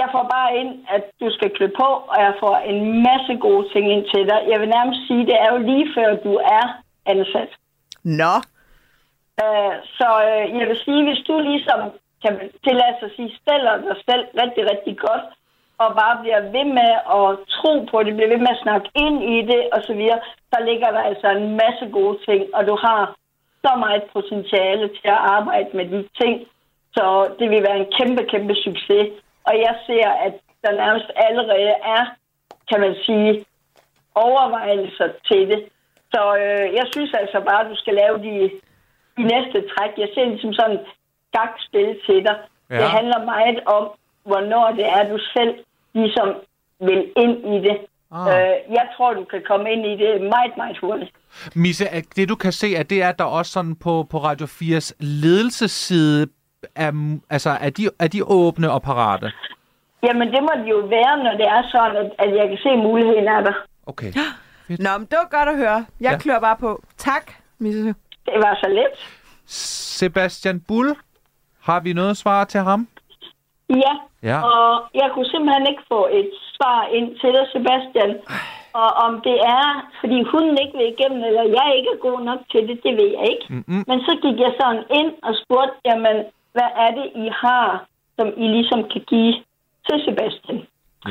jeg får bare ind, at du skal klø på, og jeg får en masse gode ting ind til dig. Jeg vil nærmest sige, det er jo lige før, du er ansat.
Nå.
Øh, så øh, jeg vil sige, hvis du ligesom kan tillade sig at sige, stiller dig selv rigtig, rigtig godt, og bare bliver ved med at tro på det, bliver ved med at snakke ind i det og så videre, så ligger der altså en masse gode ting, og du har så meget potentiale til at arbejde med de ting, så det vil være en kæmpe, kæmpe succes. Og jeg ser, at der nærmest allerede er, kan man sige, overvejelser til det. Så øh, jeg synes altså bare, at du skal lave de, de næste træk. Jeg ser det som sådan et skakspil til dig.
Ja.
Ja. Det handler meget om, hvornår det er, du selv ligesom vil ind i det.
Ah.
Ah. Øh, jeg tror, du kan komme ind i det meget, meget hurtigt.
Misse, er det du kan se, at det er, at der også sådan på, på Radio 4's ledelsesside, er, altså, er, de, er de åbne og parate?
Jamen, det må det jo være, når det er sådan, at, at jeg kan se muligheden af dig.
Okay.
Nå, men det var godt at høre. Jeg
Ja.
ja. klør bare på. Tak, Misse.
Det var så let.
Sebastian Bull, har vi noget svar til ham?
Ja,
Ja.
og jeg kunne simpelthen ikke få et svar ind til dig, Sebastian. Og om det er, fordi hunden ikke vil igennem, eller jeg ikke er god nok til det, det ved jeg ikke. Mm-hmm. Men så gik jeg sådan ind og spurgte, jamen, hvad er det, I har, som I ligesom kan give til Sebastian?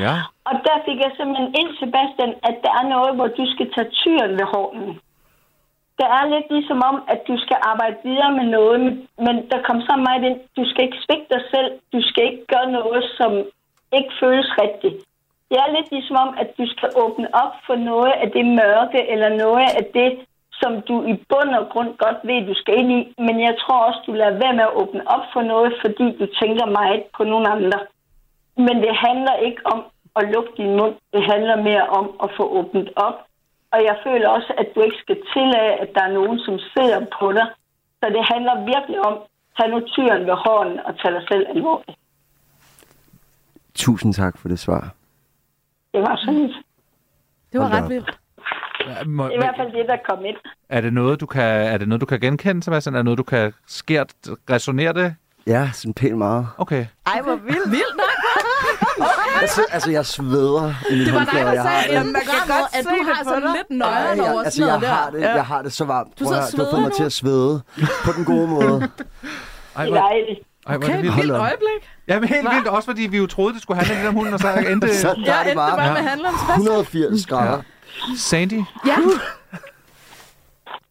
Ja.
Og der fik jeg simpelthen ind, Sebastian, at der er noget, hvor du skal tage tyren ved hånden. Det er lidt ligesom om, at du skal arbejde videre med noget, men, men der kom så meget ind, du skal ikke svigte dig selv, du skal ikke gøre noget, som ikke føles rigtigt. Det er lidt ligesom om, at du skal åbne op for noget af det mørke, eller noget af det, som du i bund og grund godt ved, du skal ind i. Men jeg tror også, du lader være med at åbne op for noget, fordi du tænker meget på nogle andre. Men det handler ikke om at lukke din mund. Det handler mere om at få åbnet op. Og jeg føler også, at du ikke skal tillade, at der er nogen, som sidder på dig. Så det handler virkelig om, tag nu tyren ved hånden og tag dig selv alvorligt.
Tusind tak for det svar.
Det var sådan
Mm.
lidt.
Det var
Hold da
ret
op.
vildt.
Er- Må,
Det er i hvert fald det, der kom ind.
er, det noget, du kan, er det noget, du kan genkende, Sebastian? Er det noget, du kan skært resonere det?
Ja, sådan pænt meget.
Okay.
Ej, hvor vildt. vildt nok.
Altså, altså jeg sveder i mit
Det var dig,
håndklæde, og
der
jeg har
sagde
det.
i
Man kan
programmet,
godt
at
se
du
det
har
på
sådan
dig.
lidt nøjeren
Ej,
over
jeg,
sådan
altså, jeg
noget der.
har det, jeg har det så varmt.
Du
Prøv at
sidder
høre, du har fået
og
mig
sveder
til at svede på den gode måde.
Ej,
Det
hvor,
er dejligt.
ej, hvor er
Okay,
det
et
vildt.
Hold
vildt
op.
øjeblik.
Jamen helt vildt, også fordi vi jo troede, det skulle handle lidt om hunden, og så endte
Sådan der
Jeg
er
endte
det
bare
bare.
med handleren.
180 grader.
Ja. Sandy. Uh.
Ja.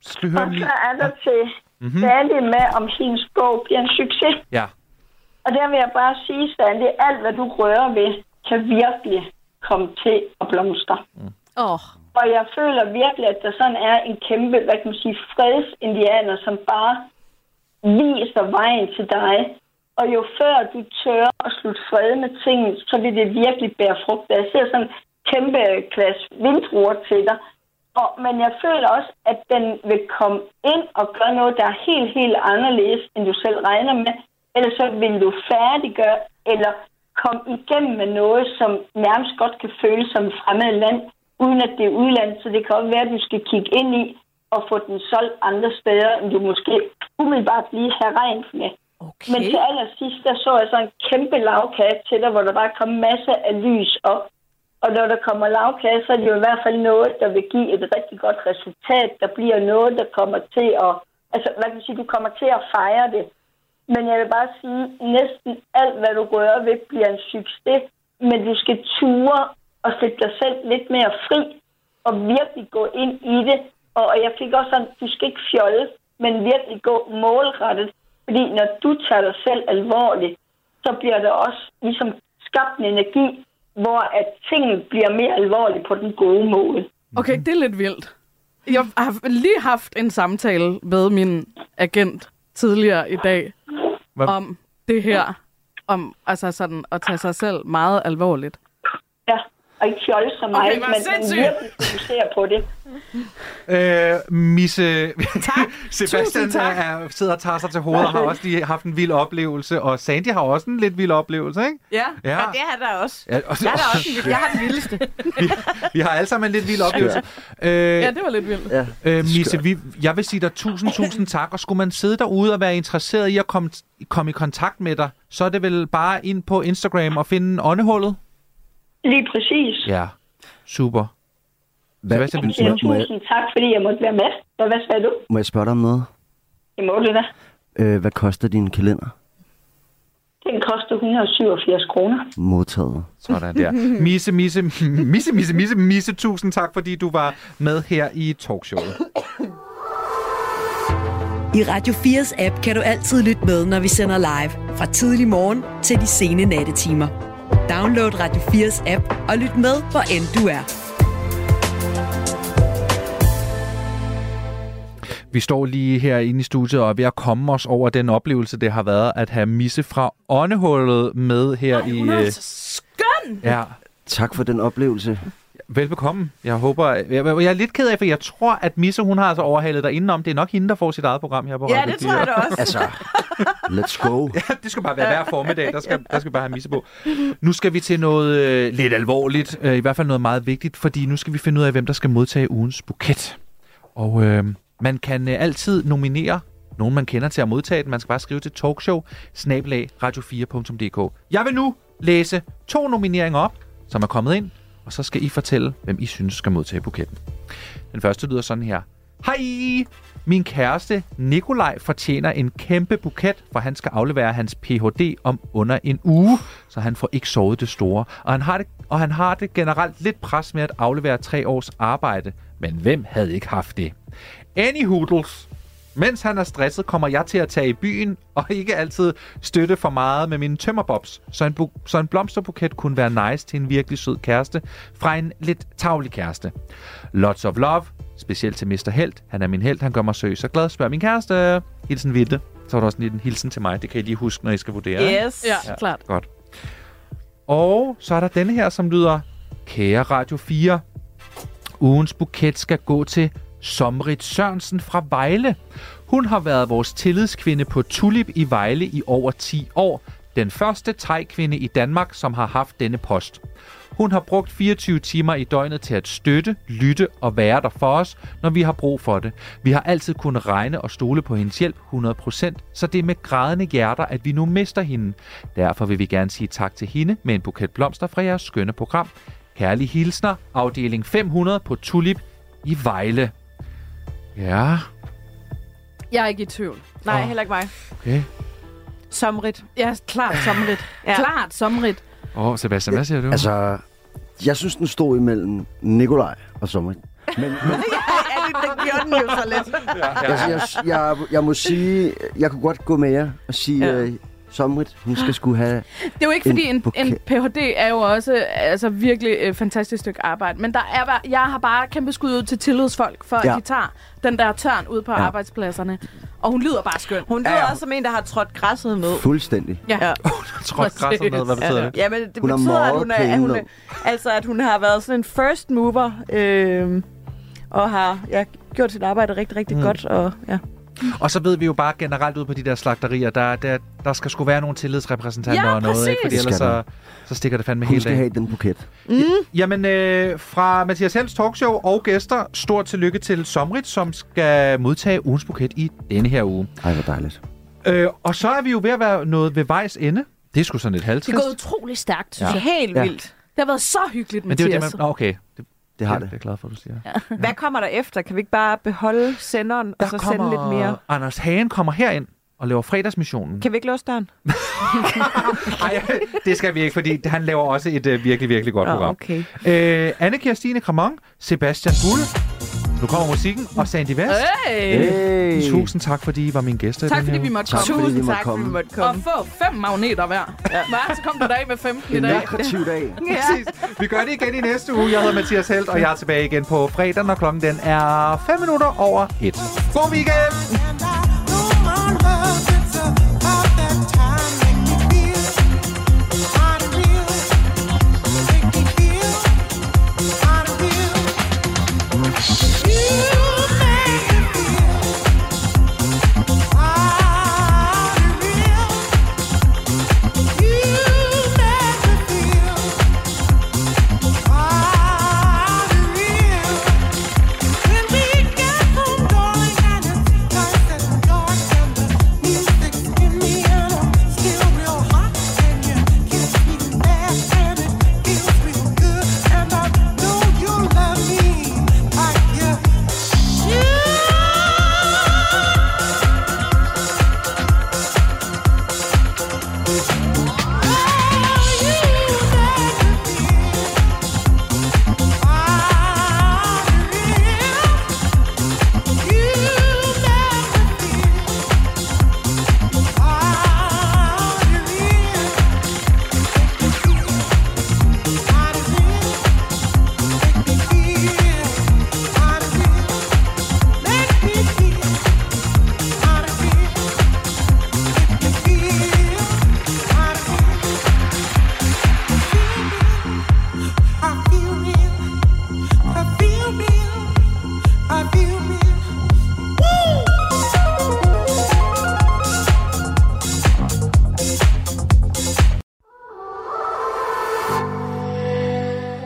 Skal vi
Og
høre den lige?
så er der til
Mhm.
Sandy med, om hendes bog bliver en succes.
Ja.
Og der vil jeg bare sige, Sandy, alt hvad du rører ved, kan virkelig komme til at blomstre.
Åh, oh,
Og jeg føler virkelig, at der sådan er en kæmpe, hvad kan man sige, fredsindianer, som bare viser vejen til dig. Og jo før du tør at slutte fred med tingene, så vil det virkelig bære frugt. Jeg ser sådan en kæmpe klasse vindruer til dig. Og, men jeg føler også, at den vil komme ind og gøre noget, der er helt, helt anderledes, end du selv regner med. Ellers så vil du færdiggøre, eller komme igennem med noget, som nærmest godt kan føles som et fremmed land, uden at det er udlandet. Så det kan også være, at du skal kigge ind i og få den solgt andre steder, end du måske umiddelbart lige har regnet med.
okay.
Men til allersidst, der så jeg så en kæmpe lavkage til dig, hvor der bare kom masser af lys op. Og når der kommer lavkage, så er det jo i hvert fald noget, der vil give et rigtig godt resultat. Der bliver noget, der kommer til at... Altså, hvad kan man sige, du kommer til at fejre det. Men jeg vil bare sige, næsten alt, hvad du rører ved, bliver en succes. Men du skal ture og sætte dig selv lidt mere fri og virkelig gå ind i det. Og, og jeg fik også sådan, du skal ikke fjolle, men virkelig gå målrettet. Fordi når du tager dig selv alvorligt, så bliver der også ligesom skabt en energi, hvor at tingene bliver mere alvorlige på den gode måde.
Okay, det er lidt vildt. Jeg har lige haft en samtale med min agent tidligere i dag
Hvad-
om det her. Om altså sådan at tage sig selv meget alvorligt.
Ja, og ikke fjolle så meget,
hvor
okay, men men
sindssygt.
virkelig fokusere på det.
Øh, Misse...
Tak.
Sebastian øh,
Tusind tak.
Er, sidder og tager sig til hovedet og har også lige haft en vild oplevelse, og Sandy har også en lidt vild oplevelse, ikke?
Ja.
Ja,
Ja, det er der også.
ja og,
Jeg er, der også en, jeg har den vildeste.
vi har alle sammen en lidt vild oplevelse. Øh,
Ja, det var lidt vildt.
Ja.
Øh, Misse, vi, jeg vil sige dig tusind, tusind tak. Og skulle man sidde derude og være interesseret i at komme, komme i kontakt med dig, så er det vel bare ind på Instagram og finde åndehullet?
Lige præcis.
Ja, super. Sebastian, vil du
Ja,
sige?
må jeg-
tusind tak, fordi jeg måtte være med. Og hvad sagde du?
Må jeg spørge dig om noget?
I målet da.
Øh, hvad koster din kalender?
Den koster 187 kroner.
Modtaget.
Sådan der. Misse, Misse, Misse, Misse, Misse, Misse, tusind tak, fordi du var med her i talkshowet.
I Radio 4's app kan du altid lytte med, når vi sender live, fra tidlig morgen til de sene nattetimer. Download Radio 4's app og lyt med, hvor end du er.
Vi står lige herinde i studiet og er ved at komme os over den oplevelse, det har været at have Misse fra Åndehullet med her Ej, i...
Hun er
øh,
altså skøn!
Ja,
Tak for den oplevelse.
velbekomme. Jeg håber... Jeg, jeg er lidt ked af, for jeg tror, at Misse, hun har altså overhalet dig indenom. Det er nok hende, der får sit eget program her på
Ja,
Radio
det tror jeg da også.
Altså, let's go.
det skal bare være hver formiddag, der skal, der skal bare have misse på. Nu skal vi til noget øh, lidt alvorligt, øh, i hvert fald noget meget vigtigt, fordi nu skal vi finde ud af, hvem der skal modtage ugens buket. Og øh, man kan øh, altid nominere nogen, man kender til at modtage den. Man skal bare skrive til talkshow radio4.dk. Jeg vil nu læse to nomineringer op, som er kommet ind, og så skal I fortælle, hvem I synes skal modtage buketten. Den første lyder sådan her. Hej! Min kæreste Nikolaj fortjener en kæmpe buket, for han skal aflevere hans Ph.D. om under en uge, så han får ikke sovet det store. Og han har det, og han har det generelt lidt pres med at aflevere tre års arbejde. Men hvem havde ikke haft det? Any hoodles. Mens han er stresset, kommer jeg til at tage i byen og ikke altid støtte for meget med mine tømmerbobs. Så en, bu- så en blomsterbuket kunne være nice til en virkelig sød kæreste fra en lidt tavlig kæreste. Lots of love, specielt til Mr. Held. Han er min held, han gør mig søg så glad. Spørg min kæreste. Hilsen Vitte. Så var der også lige en hilsen til mig. Det kan I lige huske, når I skal vurdere. ikke?
Yes.
Ja, ja, klart.
Godt. Og så er der denne her, som lyder, kære Radio 4, ugens buket skal gå til Somrit Sørensen fra Vejle. Hun har været vores tillidskvinde på Tulip i Vejle i over 10 år. Den første tegkvinde i Danmark, som har haft denne post. Hun har brugt 24 timer i døgnet til at støtte, lytte og være der for os, når vi har brug for det. Vi har altid kunnet regne og stole på hendes hjælp 100%, så det er med grædende hjerter, at vi nu mister hende. Derfor vil vi gerne sige tak til hende med en buket blomster fra jeres skønne program. Kærlige hilsner, afdeling 500 på Tulip i Vejle. Ja,
Jeg er ikke i tvivl.
Nej,
Åh.
heller ikke mig.
okay.
Somrit.
Ja, klart sommerligt. ja.
Ja.
Klart sommerligt.
Åh, oh, Sebastian, hvad siger du? Altså,
Altså, jeg synes, den stod imellem Nikolaj og Sommer. Men, men
Ja, det, det gjorde den jo så lidt.
altså, jeg, jeg, jeg må sige, jeg kunne godt gå med jer og sige,
Ja.
ja. øh, Somrit, hun skal skulle have...
Det er jo ikke
En
fordi, en, en,
buket.
Ph.D. er jo også altså, virkelig et fantastisk stykke arbejde. Men der er, bare- jeg har bare kæmpe skud ud til tillidsfolk, for ja.
Ja.
at de tager den der tørn ud på ja. arbejdspladserne. Og hun lyder bare skøn.
Hun lyder også som en, der har trådt græsset ned.
Fuldstændig.
Ja.
trådt græsset ned, hvad betyder det?
Ja, men det
Hun har
betyder, at
meget
hun er, at hun er,
pæne
altså, at hun har været sådan en first mover, øh, og har ja, gjort sit arbejde rigtig, rigtig mm. godt. Og, ja.
Og så ved vi jo bare generelt ud på de der slagterier, der, der, der skal sgu være nogle tillidsrepræsentanter
Ja,
og noget, ikke? fordi
præcis.
ellers
Det skal
så, så stikker det fandme
Hun
helt
skal
af.
have den buket.
Jamen, øh, fra Mathias Helms talkshow og gæster, stort tillykke til Somrit, som skal modtage ugens buket i denne her uge.
Ej, hvor dejligt.
Øh, og så er vi jo ved at være noget ved vejs ende. Det er sgu sådan lidt
Det
halvtrist.
går utrolig stærkt, synes
Ja.
ja. jeg.
Helt
Ja.
vildt.
Det har været så hyggeligt,
Men det er jo det, man...
Mathias.
Nå, okay. Det,
Det har
det er
det.
jeg glad for, du siger. Ja,
Hvad kommer der efter? Kan vi ikke bare beholde senderen, og så sende lidt mere?
Anders Hagen kommer herind og laver fredagsmissionen.
Kan vi ikke låse døren?
Nej, det skal vi ikke, fordi han laver også et øh, virkelig, virkelig godt
Nå,
program.
okay.
Øh, Anne Kirstine Kramon, Sebastian Bulle. Nu kommer musikken og Sandy Vest.
Hey.
Hey.
Tusind tak, fordi I var mine gæster. i
Tak
den
fordi
her
vi
uge.
måtte
Tak
komme.
fordi vi måtte
tak,
komme.
vi måtte
Og
komme.
få fem magneter hver. Ja. Hva? Så kom du dag med 15 i
En
dag.
lukrativ dag.
Præcis. Vi gør det igen i næste uge. Jeg hedder Mathias Helt, og jeg er tilbage igen på fredag, når klokken den er 5 minutter over 1. God weekend!
When we get home, darling, and it's nice and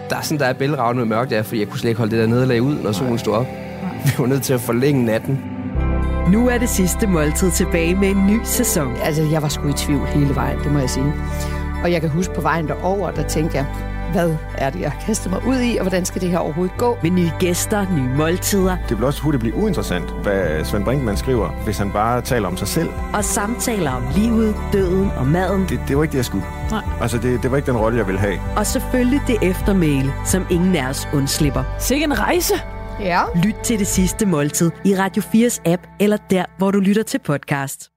Der er sådan, der er bælragende med mørkt der, fordi jeg kunne slet ikke holde det der nederlag ud, når solen stod op. Vi var nødt til at forlænge natten.
Nu er det sidste måltid tilbage med en ny sæson.
Altså, jeg var sgu i tvivl hele vejen, det må jeg sige. Og jeg kan huske på vejen derover, der tænkte jeg, hvad er det, jeg har kastet mig ud i, og hvordan skal det her overhovedet gå?
Med nye gæster, nye måltider
Det vil også hurtigt blive uinteressant, hvad Svend Brinkmann skriver, hvis han bare taler om sig selv.
og samtaler om livet, døden og maden.
Det, det var ikke det, jeg skulle. Nej. Altså, det, det var ikke den rolle, jeg ville have.
Og selvfølgelig det eftermæle, som ingen af os undslipper.
Sikke en rejse.
Ja.
Lyt til det sidste måltid i Radio 4's app, eller der, hvor du lytter til podcast.